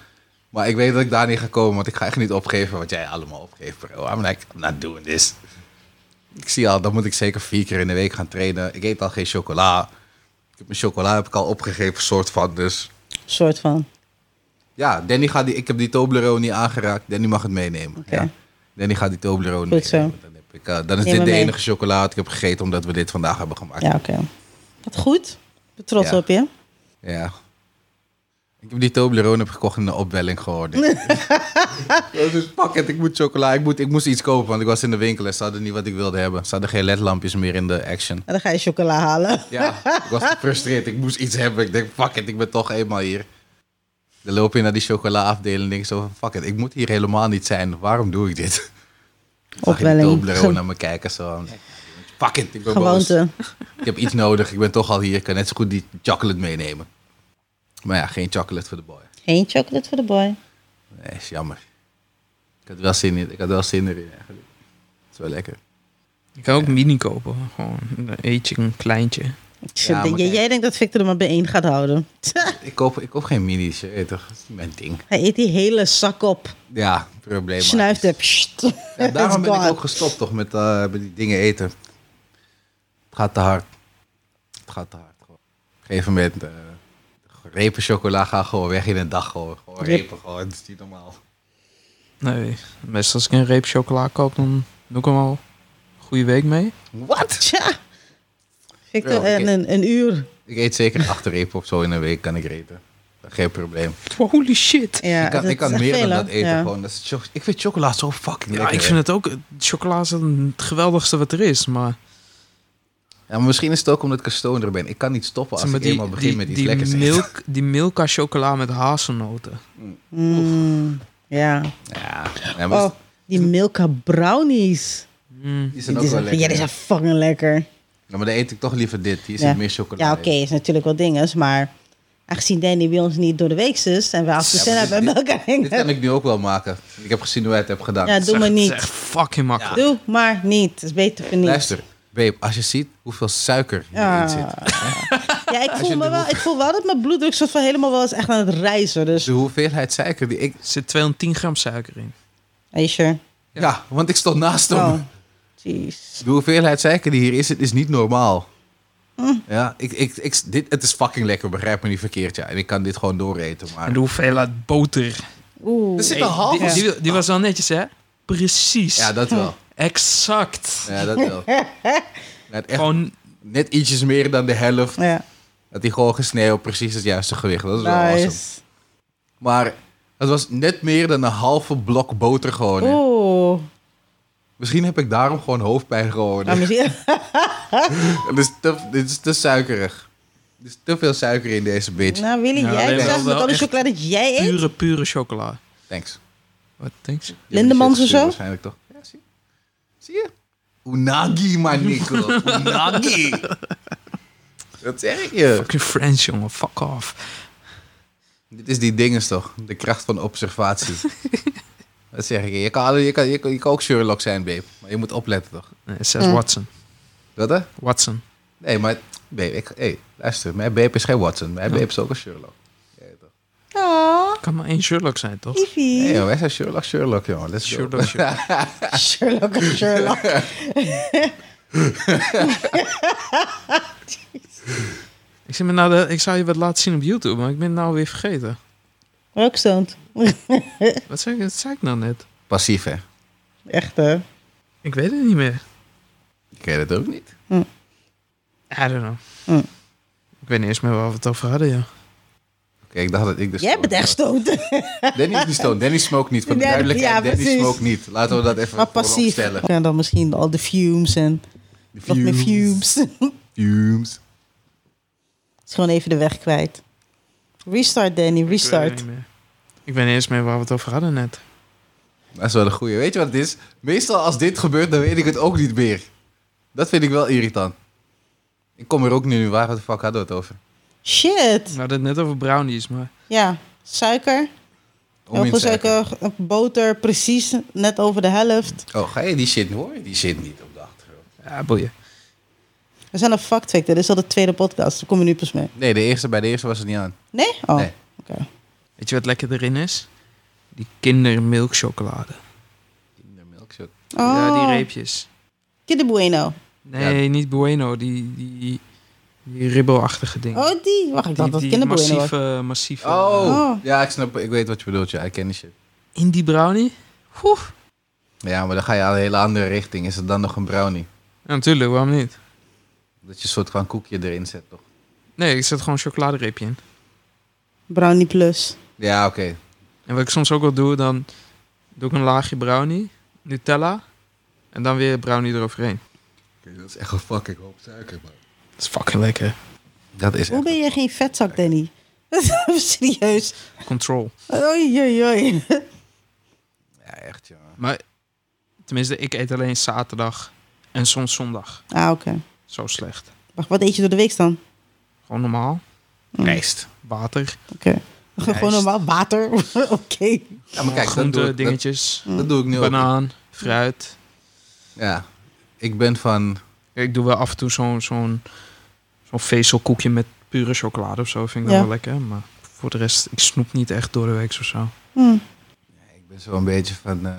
C: Maar ik weet dat ik daar niet ga komen, want ik ga echt niet opgeven wat jij allemaal opgeeft, bro. I'm like, I'm not doing this. Ik zie al, dan moet ik zeker vier keer in de week gaan trainen. Ik eet al geen chocola. Ik heb mijn chocola heb ik al opgegeven, soort van, dus...
A: soort van.
C: Ja, Danny gaat die, ik heb die Toblerone niet aangeraakt. Danny mag het meenemen.
A: Oké.
C: Ja. Danny gaat die Toblerone
A: Goed zo.
C: meenemen. Dan, heb ik, eh, dan is
A: Neem
C: dit de
A: hem mee.
C: enige chocolade ik heb gegeten omdat we dit vandaag hebben gemaakt.
A: Ja, oké. Wat goed. Ik ben trots
C: Ja.
A: op je.
C: Ja. Ik heb die Toblerone heb gekocht en een opwelling geworden. Dat is fuck it, ik moet chocola. Ik, moet, ik moest iets kopen, want ik was in de winkel en ze hadden niet wat ik wilde hebben. Ze hadden geen ledlampjes meer in de action.
A: En dan ga je chocola halen.
C: Ja, ik was gefrustreerd. Ik moest iets hebben. Ik denk, fuck it, ik ben toch eenmaal hier. Dan loop je naar die chocolaafdeling en denk zo van, fuck it, ik moet hier helemaal niet zijn. Waarom doe ik dit? Zag je die
A: Opwelling.
C: Toblerone
A: Ge-
C: naar me kijken zo. Fuck it, ik ben boos.
A: Gewoonte.
C: Ik heb iets nodig, ik ben toch al hier. Ik kan net zo goed die chocolate meenemen. Maar ja, geen chocolate voor de boy.
A: Geen chocolate voor de boy.
C: Nee, is jammer. Ik had wel zin in, ik had wel zin erin eigenlijk. Het is wel lekker.
B: Ik kan ook mini kopen. Gewoon een eetje, een kleintje.
A: Ik
C: Ja,
A: denk-
C: maar
A: jij-
C: kijk.
A: jij denkt dat Victor er maar bij één gaat houden.
C: Ik koop, ik koop geen minis, je weet toch? Dat is niet mijn ding.
A: Hij eet die hele zak op.
C: Ja, probleem.
A: Snuift het. Pssst.
C: Ja, daarom
A: It's
C: ben
A: gone.
C: ik ook gestopt toch met, eh, met die dingen eten. Het gaat te hard. Het gaat te hard. Gewoon. Op een gegeven moment, eh, repen chocola gaan gewoon weg in een dag. Gewoon, gewoon
A: Yep.
C: repen, gewoon. Het is niet normaal.
B: Nee, meestal als ik een reep chocola koop, dan doe ik hem al een goede week mee.
C: Wat?
A: Tja. Victor,
C: Ja, oké.
A: en een, een uur.
C: Ik eet zeker acht repen of zo in een week, kan ik eten. Geen probleem.
B: Holy shit.
A: Ja,
C: ik kan,
A: dat
C: ik kan
A: is echt
C: meer
A: veel,
C: dan
A: hè?
C: dat eten.
A: Ja.
C: Gewoon. Dat is cho- ik vind chocola zo fucking
B: Ja,
C: lekker.
B: ik
C: hè.
B: vind het ook. Chocola is het geweldigste wat er is. Maar
C: ja, maar misschien is het ook omdat ik een stoner ben. Ik kan niet stoppen als
B: Zeg maar,
C: ik eenmaal begin met iets
B: die,
C: lekkers eten.
B: milk, die Milka chocola met hazelnoten.
A: Mm, ja.
C: Ja, ja, maar
A: Oh, die Milka brownies.
B: Mm.
C: die zijn
A: Die
C: ook wel
A: zijn, ja,
C: lekker.
A: die
C: hè.
A: zijn fucking lekker.
C: Ja, maar dan eet ik toch liever dit. Hier zit
A: Ja.
C: meer chocola
A: Ja,
C: in.
A: oké, is natuurlijk wel dinges, maar... Aangezien Danny bij ons niet door de week is... en we als we
C: Ja,
A: zin
C: maar
A: hebben
C: dit-
A: met elkaar
C: Dit kan ik nu ook wel maken. Ik heb gezien hoe hij het hebt gedaan.
A: Ja, doe
B: Het
A: maar
B: is echt- het
A: niet.
B: is echt fucking makkelijk.
A: Doe maar niet. Het is beter voor niet.
C: Luister, babe, als je ziet hoeveel suiker hierin
A: Ja.
C: zit.
A: Ja, ik
C: je
A: voel, me
C: de
A: wel, ik voel wel dat mijn bloeddruk soort van helemaal wel is echt aan het reizen. Dus,
C: De hoeveelheid suiker die ik...
B: Er zit 210 gram suiker in.
A: are you sure?
C: Ja, want ik stond naast hem.
A: Oh, jeez.
C: De hoeveelheid suiker die hier is, het is niet normaal.
A: Hm.
C: Ja, ik, ik, ik, dit, het is fucking lekker, begrijp me niet verkeerd. Ja. En ik kan dit gewoon dooreten. Maar...
B: En de hoeveelheid boter.
A: Oeh.
C: Er zit een halve...
B: Die, die, die was wel netjes, hè? Precies.
C: Ja, dat wel.
B: Exact.
C: Ja, dat wel. Net, echt,
B: Gewoon
C: net ietsjes meer dan de helft.
A: Ja,
C: Dat hij gewoon gesneeuwd, precies het juiste gewicht. Dat is wel awesome.
A: nice.
C: Maar het was net meer dan een halve blok boter gewoon. hè.
A: Oeh.
C: Misschien heb ik daarom gewoon hoofdpijn gewoon.
A: Nou, misschien-
C: Het is te, dit is te suikerig. Er is te veel suiker in deze bitch.
A: Nou, Willy,
B: Nou,
A: jij
B: alleen
A: zegt
B: wel
A: met
B: wel
A: alle
B: echt
A: chocolade dat jij eet?
B: pure, pure chocola.
C: Thanks. Je
B: Wat denk je?
C: hebt
A: Lindemans
C: shit
A: of zo?
C: gestuurd Waarschijnlijk toch? Ja, zie, zie je? Unagi, man, Nico. Unagi. Dat zeg ik je. Eh.
B: Fucking French, jongen. Fuck off.
C: Dit is die dinges toch? De kracht van observatie. Dat zeg ik. Je kan, alle- je, kan, je, kan, je kan ook Sherlock zijn, babe. Maar je moet opletten toch?
B: Nee, het zegt
A: Mm.
B: Watson.
C: Wat hè?
B: Watson.
C: Nee, maar babe, ik, hey, luister. Mijn babe is geen Watson. Mijn babe is ook een Sherlock. Ja, toch?
A: Oh,
B: Kan maar één Sherlock zijn, toch?
A: Ivy.
C: Nee, joh, wij zijn Sherlock, Sherlock, jongen. Let's go.
B: Sherlock, Sherlock.
A: Sherlock en Sherlock.
B: Ik, zit me nou de, ik zou je wat laten zien op YouTube, maar ik ben het nou weer vergeten.
A: Rockstone.
B: Wat zei, ik- wat zei ik nou net?
C: Passief, hè?
A: Echt hè?
B: Ik weet het niet meer.
C: Ik weet het ook niet.
B: I don't know.
A: Mm.
B: Ik weet niet eens meer waar we het over hadden, ja.
C: Oké, ik dacht dat ik de
A: Jij
C: stoner
A: bent echt
C: was.
A: stoten.
C: Danny is niet stoned. Danny smoke niet. Voor de
A: Ja,
C: duidelijkheid,
A: ja,
C: Danny
A: precies.
C: smoke niet. Laten we dat even
A: Maar passief.
C: vooropstellen.
A: En dan misschien al de fumes en
C: De
A: nog meer fumes.
C: Fumes.
A: Is gewoon even de weg kwijt. Restart Danny,
B: Ik weet
A: restart.
B: het niet meer. Ik weet niet eens meer waar we het over hadden net.
C: Dat is wel een goeie. Weet je wat het is? Meestal als dit gebeurt, dan weet ik het ook niet meer. Dat vind ik wel irritant. Ik kom er ook nu. Waar de fuck hadden we het over?
B: We
A: Shit.
B: hadden het net over brownies, maar...
A: Ja, suiker. Heel veel
C: Onminzaken.
A: suiker, boter, precies net over de helft.
C: Oh, ga je die shit hoor je die shit niet op de achtergrond?
B: Ja, boeien.
A: We zijn een factcheck. Dit is al de tweede podcast. Daar kom je nu pas mee.
C: Nee, de eerste, bij de eerste was het niet aan.
A: Nee? Oh,
C: Nee.
A: oké.
B: Weet je wat lekker erin is? Die kindermilkchocolade.
C: Kindermilkshot.
B: Ja, die
A: Oh.
B: reepjes.
A: Kinder Bueno.
B: Nee, niet Bueno. Die, die, die ribbelachtige dingen.
A: Oh, die. Wacht, ik dacht dat
B: die,
A: het
B: die
A: Kinder Bueno was.
B: massieve, massieve...
C: Oh,
A: Oh.
C: ja, ik snap, ik weet wat je bedoelt. Ja, ik ken die shit.
B: in die brownie? Oeh.
C: Ja, maar dan ga je aan een hele andere richting. Is het dan nog een brownie?
B: Ja, natuurlijk, waarom niet?
C: Dat je een soort van koekje erin zet, toch?
B: Nee, ik zet gewoon een chocoladereepje in.
A: Brownie Plus.
C: Ja, oké.
B: En wat ik soms ook wel doe, dan doe ik een laagje brownie, Nutella en dan weer brownie eroverheen.
C: dat is echt een fucking hoop suiker, man.
B: Dat is fucking lekker.
C: Dat is
A: Hoe
C: echt...
A: ben je geen vetzak, Danny? Serieus.
B: Control.
A: Oei, oei, oei.
C: Ja, echt, ja.
B: Maar tenminste, ik eet alleen zaterdag en soms zondag.
A: Ah, oké.
B: Zo slecht.
A: Wacht, wat eet je door de week dan?
B: Gewoon normaal. Mm.
C: Rijst.
B: Water,
A: Oké. Gewoon normaal water. oké.
C: Ja, maar kijk, dat doe,
B: groente,
C: ik, dat,
B: dingetjes,
C: dat doe ik nu ook.
B: banaan, fruit.
C: Ja. Ik ben van...
B: Ik doe wel af en toe zo'n zo'n zo'n vezelkoekje met pure chocolade of zo. Vind ik
A: Ja.
B: dat wel lekker. Maar voor de rest, ik snoep niet echt door de week of zo.
A: Hm.
C: Ik ben zo een beetje van... eh,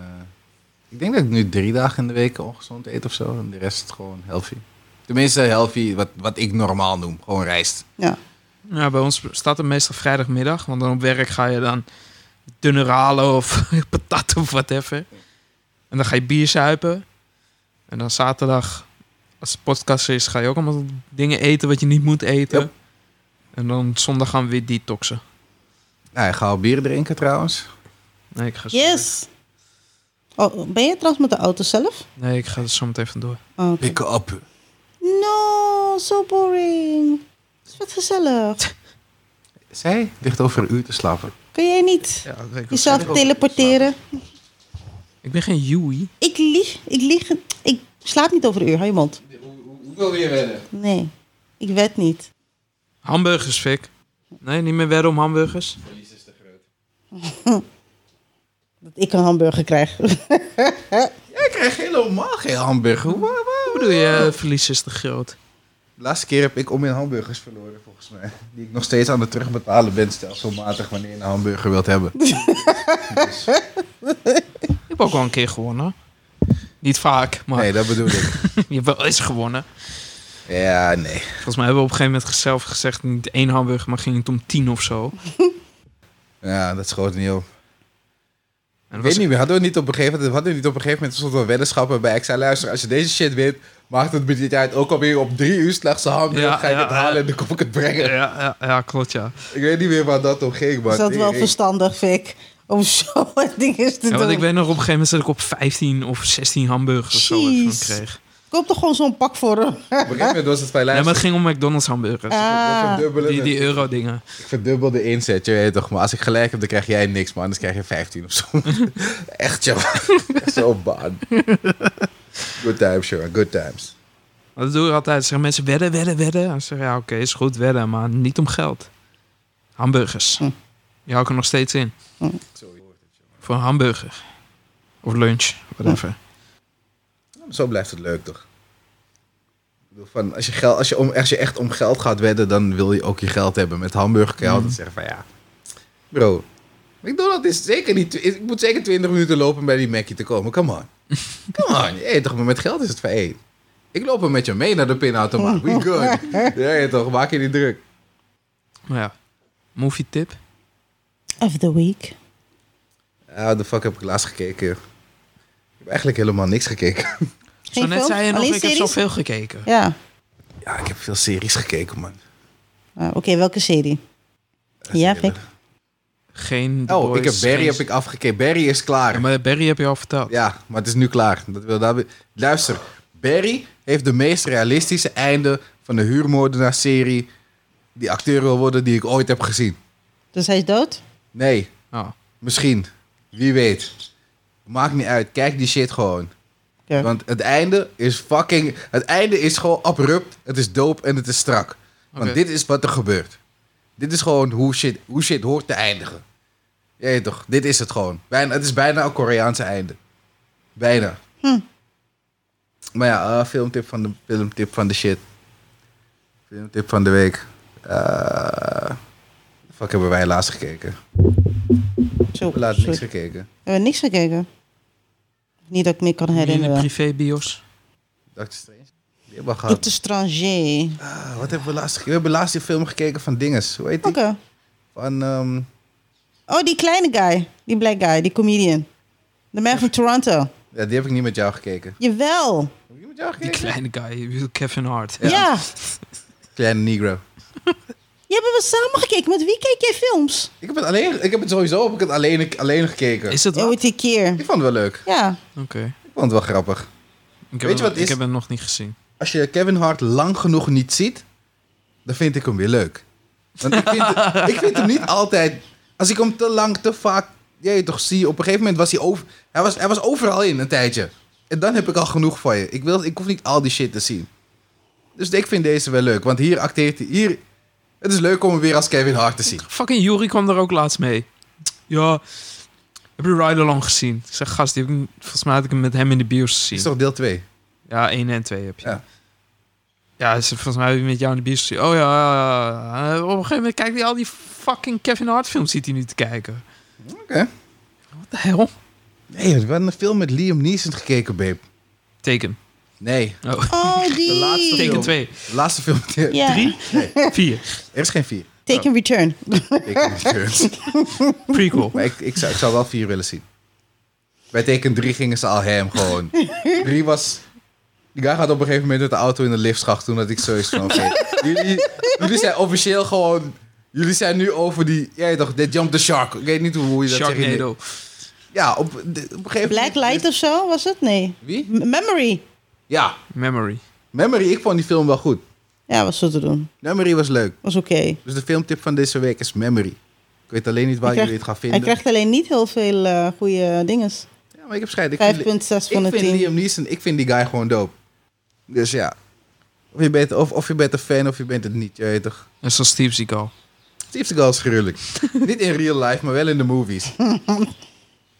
C: ik denk dat ik nu drie dagen in de week ongezond eet of zo. En de rest is gewoon healthy. Tenminste, healthy, wat, wat ik normaal noem. Gewoon rijst.
A: Ja.
B: Ja, bij ons staat het meestal vrijdagmiddag. Want dan op werk ga je dan dunne ralen of patat of whatever. En dan ga je bier zuipen. En dan zaterdag, als het podcast is, ga je ook allemaal dingen eten wat je niet moet eten.
C: Yep.
B: En dan zondag gaan we weer detoxen.
C: Nou, ik ga al bier drinken trouwens.
B: Nee, ik ga, zo-
A: Yes. Oh, ben je trouwens met de auto zelf?
B: nee, ik ga er zo meteen vandoor.
A: Oh, oké.
C: Pikken op.
A: No, so boring. Het is wat gezellig.
C: Zij ligt over een uur te slapen.
A: Kun jij niet
B: Ja, dat weet ik, wel
A: jezelf
B: zeker.
A: teleporteren?
B: ik ben geen Yui.
A: Ik lieg, ik lieg, ik slaap niet over een uur. Hou je mond.
C: Hoeveel weer wedden?
A: Nee, ik wed niet.
B: Hamburgers, Fik. Nee, niet meer wedden om hamburgers.
C: Verlies is te groot.
A: Dat ik een hamburger krijg.
C: Jij krijgt helemaal geen hamburger. Wa- wa-
B: Hoe bedoel je, eh, verlies is te groot?
C: De laatste keer heb ik om in hamburgers verloren, volgens mij. Die ik nog steeds aan het terugbetalen ben, stelselmatig, wanneer je een hamburger wilt hebben. Dus,
B: Ik heb ook wel een keer gewonnen. Niet vaak, maar
C: nee, dat bedoel ik.
B: je hebt wel eens gewonnen.
C: Ja, nee.
B: Volgens mij hebben we op een gegeven moment zelf gezegd... niet één hamburger, maar ging het om tien of zo.
C: Ja, dat schoot niet
B: En
C: op. Ik
B: dat
C: weet
B: was,
C: niet meer, hadden we niet op een gegeven moment, hadden we niet op een gegeven moment stond wel weddenschappen bij. Ik zei, luister, als je deze shit wint, maakt het budget uit. Ook alweer op drie uur slechts een hamburger,
B: Ja,
C: ga ik
B: ja,
C: het halen
B: ja.
C: en dan kom ik het brengen.
B: ja, ja, ja, klopt, ja.
C: Ik weet niet meer waar dat om ging, man.
A: Is dat wel
C: Ik- ik-
A: verstandig, Fik? Om zo het ding eens te
B: ja want ik
A: doen.
B: weet nog op een gegeven moment... dat ik op 15 of 16 hamburgers of zo even
A: Jeez.
B: kreeg.
A: Koop toch gewoon zo'n pak voor hem.
C: Op een gegeven moment was het bij
B: Nee, maar
C: luister.
B: het ging om McDonald's hamburgers.
C: ik
A: Ah,
C: verdubbel het.
B: Die, die euro-dingen.
C: Ik verdubbel de inzet, je weet toch. Maar als ik gelijk heb, dan krijg jij niks, man. Anders krijg je 15 of zo. Echt, joh. Echt zo baan. Good times, joh. Good times.
B: Dat doen we altijd. Zeggen mensen wedden,
A: Hm.
B: wedden, wedden. En ze zeggen, ja, oké, is goed, wedden. Maar niet om geld. Hamburgers. Die hou ik er nog steeds in. Voor een hamburger. Of lunch, whatever.
C: Zo blijft het leuk, toch? Ik bedoel, van, als, je geld, als, je om, als je echt om geld gaat wedden, dan wil je ook je geld hebben. Met hamburger kan je
B: Mhm.
C: altijd zeggen van ja, bro, McDonald's is zeker niet... is- Ik moet zeker 20 minuten lopen om bij die Mackie te komen. Come on. Come on. Je weet toch, maar met geld is het van hey, ik loop er met je mee naar de pinautomaat. We good. Ja, je weet toch, maak je niet druk.
A: Hm.
B: Maar ja, movie tip.
A: Of the week.
C: Ah, de fuck heb ik laatst gekeken. Ik heb eigenlijk helemaal niks gekeken.
B: Zo net
A: films?
B: zei je nog,
A: Alleen
B: ik heb
A: series?
B: zoveel gekeken.
A: Ja.
C: Ja, ik heb veel series gekeken, man.
A: Ah, Oké, welke serie? Ja, Vic.
B: Geen The
C: Oh,
B: Boys,
C: ik heb Barry
B: geen-
C: heb ik afgekeken. Barry is klaar.
B: Ja, maar Barry heb je al verteld.
C: Ja, maar het is nu klaar. Dat wil, daar... Luister, Barry heeft de meest realistische einde van de huurmoordenaar-serie die acteur wil worden die ik ooit heb gezien.
A: Dus hij is dood?
C: Nee,
B: Oh.
C: misschien. Wie weet. Maakt niet uit. Kijk die shit gewoon.
A: Ja.
C: Want het einde is fucking... Het einde is gewoon abrupt. Het is dope en het is strak. Want
B: Oké.
C: dit is wat er gebeurt. Dit is gewoon hoe shit, hoe shit hoort te eindigen. Je weet toch, dit is het gewoon. Bijna, het is bijna een Koreaanse einde. Bijna.
A: Hm.
C: Maar ja, eh, filmtip, van de, filmtip van de shit. Filmtip van de week. Eh fuck hebben wij laatst gekeken.
A: Zo,
C: We hebben laatst
A: sorry.
C: niks gekeken.
A: Hebben we niks gekeken? Niet dat ik me kan
B: In een
A: herinneren.
B: privébios.
C: Doctor Strange. Die hebben we gehad.
A: Doctor Strange.
C: Ah, wat hebben we laatst gekeken? We hebben laatst die film gekeken van Dinges. Hoe heet
A: Oké.
C: die? Van, ehm,
A: Oh, die kleine guy. Die black guy, die comedian. De man van Toronto.
C: ja, die heb ik niet met jou gekeken.
A: Jawel.
C: Heb ik niet met jou
B: Die
C: gekeken?
B: kleine guy, ik bedoel Kevin Hart.
A: Ja.
C: Kleine negro.
A: Die hebben we samen gekeken. Met wie keek jij films?
C: Ik heb het alleen, ik heb het sowieso heb ik het alleen, alleen gekeken.
B: Is het wat?
A: Ooit die keer.
C: Ik vond het wel leuk.
A: Ja.
B: Oké.
C: Ik vond het wel grappig.
B: Ik,
C: je
B: heb hem-
C: wat
B: ik
C: is-
B: heb hem nog niet gezien.
C: Als je Kevin Hart lang genoeg niet ziet, dan vind ik hem weer leuk. Want ik vind, ik vind hem niet altijd... Als ik hem te lang, te vaak, jij toch, zie... Op een gegeven moment was hij over... Hij was, hij was overal in een tijdje. En dan heb ik al genoeg van je. Ik, wil, ik hoef niet al die shit te zien. Dus ik vind deze wel leuk. Want hier acteert hij... Hier, het is leuk om hem weer als Kevin Hart te zien.
B: Fucking Yuri kwam er ook laatst mee. Ja, heb je Ride Along gezien? Ik zeg, gast, die heb ik, volgens mij had ik hem met hem in de bios
C: Dit is
B: gezien.
C: toch deel 2?
B: Ja, 1 en 2 heb je.
C: Ja.
B: Ja, hij zei, volgens mij heb ik met jou in de bios gezien. Oh ja, ja, ja. En op een gegeven moment kijkt hij al die fucking Kevin Hart films zit hij nu te kijken.
C: Oké.
B: Wat de hel?
C: Nee, we hebben een film met Liam Neeson gekeken, babe.
B: Teken.
C: Nee,
B: Oh,
A: Oh, die.
C: De laatste
B: teken
C: film.
B: 2,
C: de laatste film.
A: Ja.
B: 3, 4.
C: Er is geen 4.
A: Take and return.
B: Prequel.
C: Maar ik, ik, zou, ik zou wel vier willen zien. Bij teken 3 gingen ze al hem gewoon. 3 was. Die guy gaat op een gegeven moment met de auto in de liftschacht toen dat ik zo is van. oké, jullie, jullie zijn officieel gewoon. Jullie zijn nu over die. Jij toch, they jump the shark. Ik weet niet hoe, hoe je dat zegt.
B: Sharknado.
C: Ja, op, de- op een gegeven
A: Black
C: moment.
A: Light of zo was het? Nee.
C: Wie?
A: M- Memory.
C: Ja,
B: Memory.
C: Memory. Ik vond die film wel goed.
A: Ja, was zo te doen.
C: Memory was leuk.
A: Was oké.
C: Dus de filmtip van deze week is Memory. Ik weet alleen niet waar
A: Hij krijgt-
C: jullie het
A: Hij
C: gaan vinden.
A: krijgt alleen niet heel veel eh goede dinges. 5,6
C: Ja, maar ik heb scheid. Ik vind-
A: van
C: Ik
A: de
C: vind
A: 10.
C: Liam Neeson, ik vind die guy gewoon dope. Dus ja. Of je bent, of, of je bent een fan of je bent het niet, je weet toch.
B: En zo Steve Seagal.
C: Steve Seagal is gruwelijk. niet in real life, maar wel in de movies. Je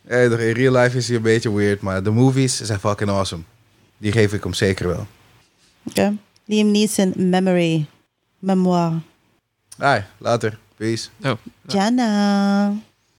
C: weet toch, in real life is hij een beetje weird, maar de movies zijn fucking awesome. Die geef ik hem zeker wel.
A: Oké. Liam Neeson, Memory. Memoir.
C: Hai, later. Peace.
B: Oh.
A: Jana.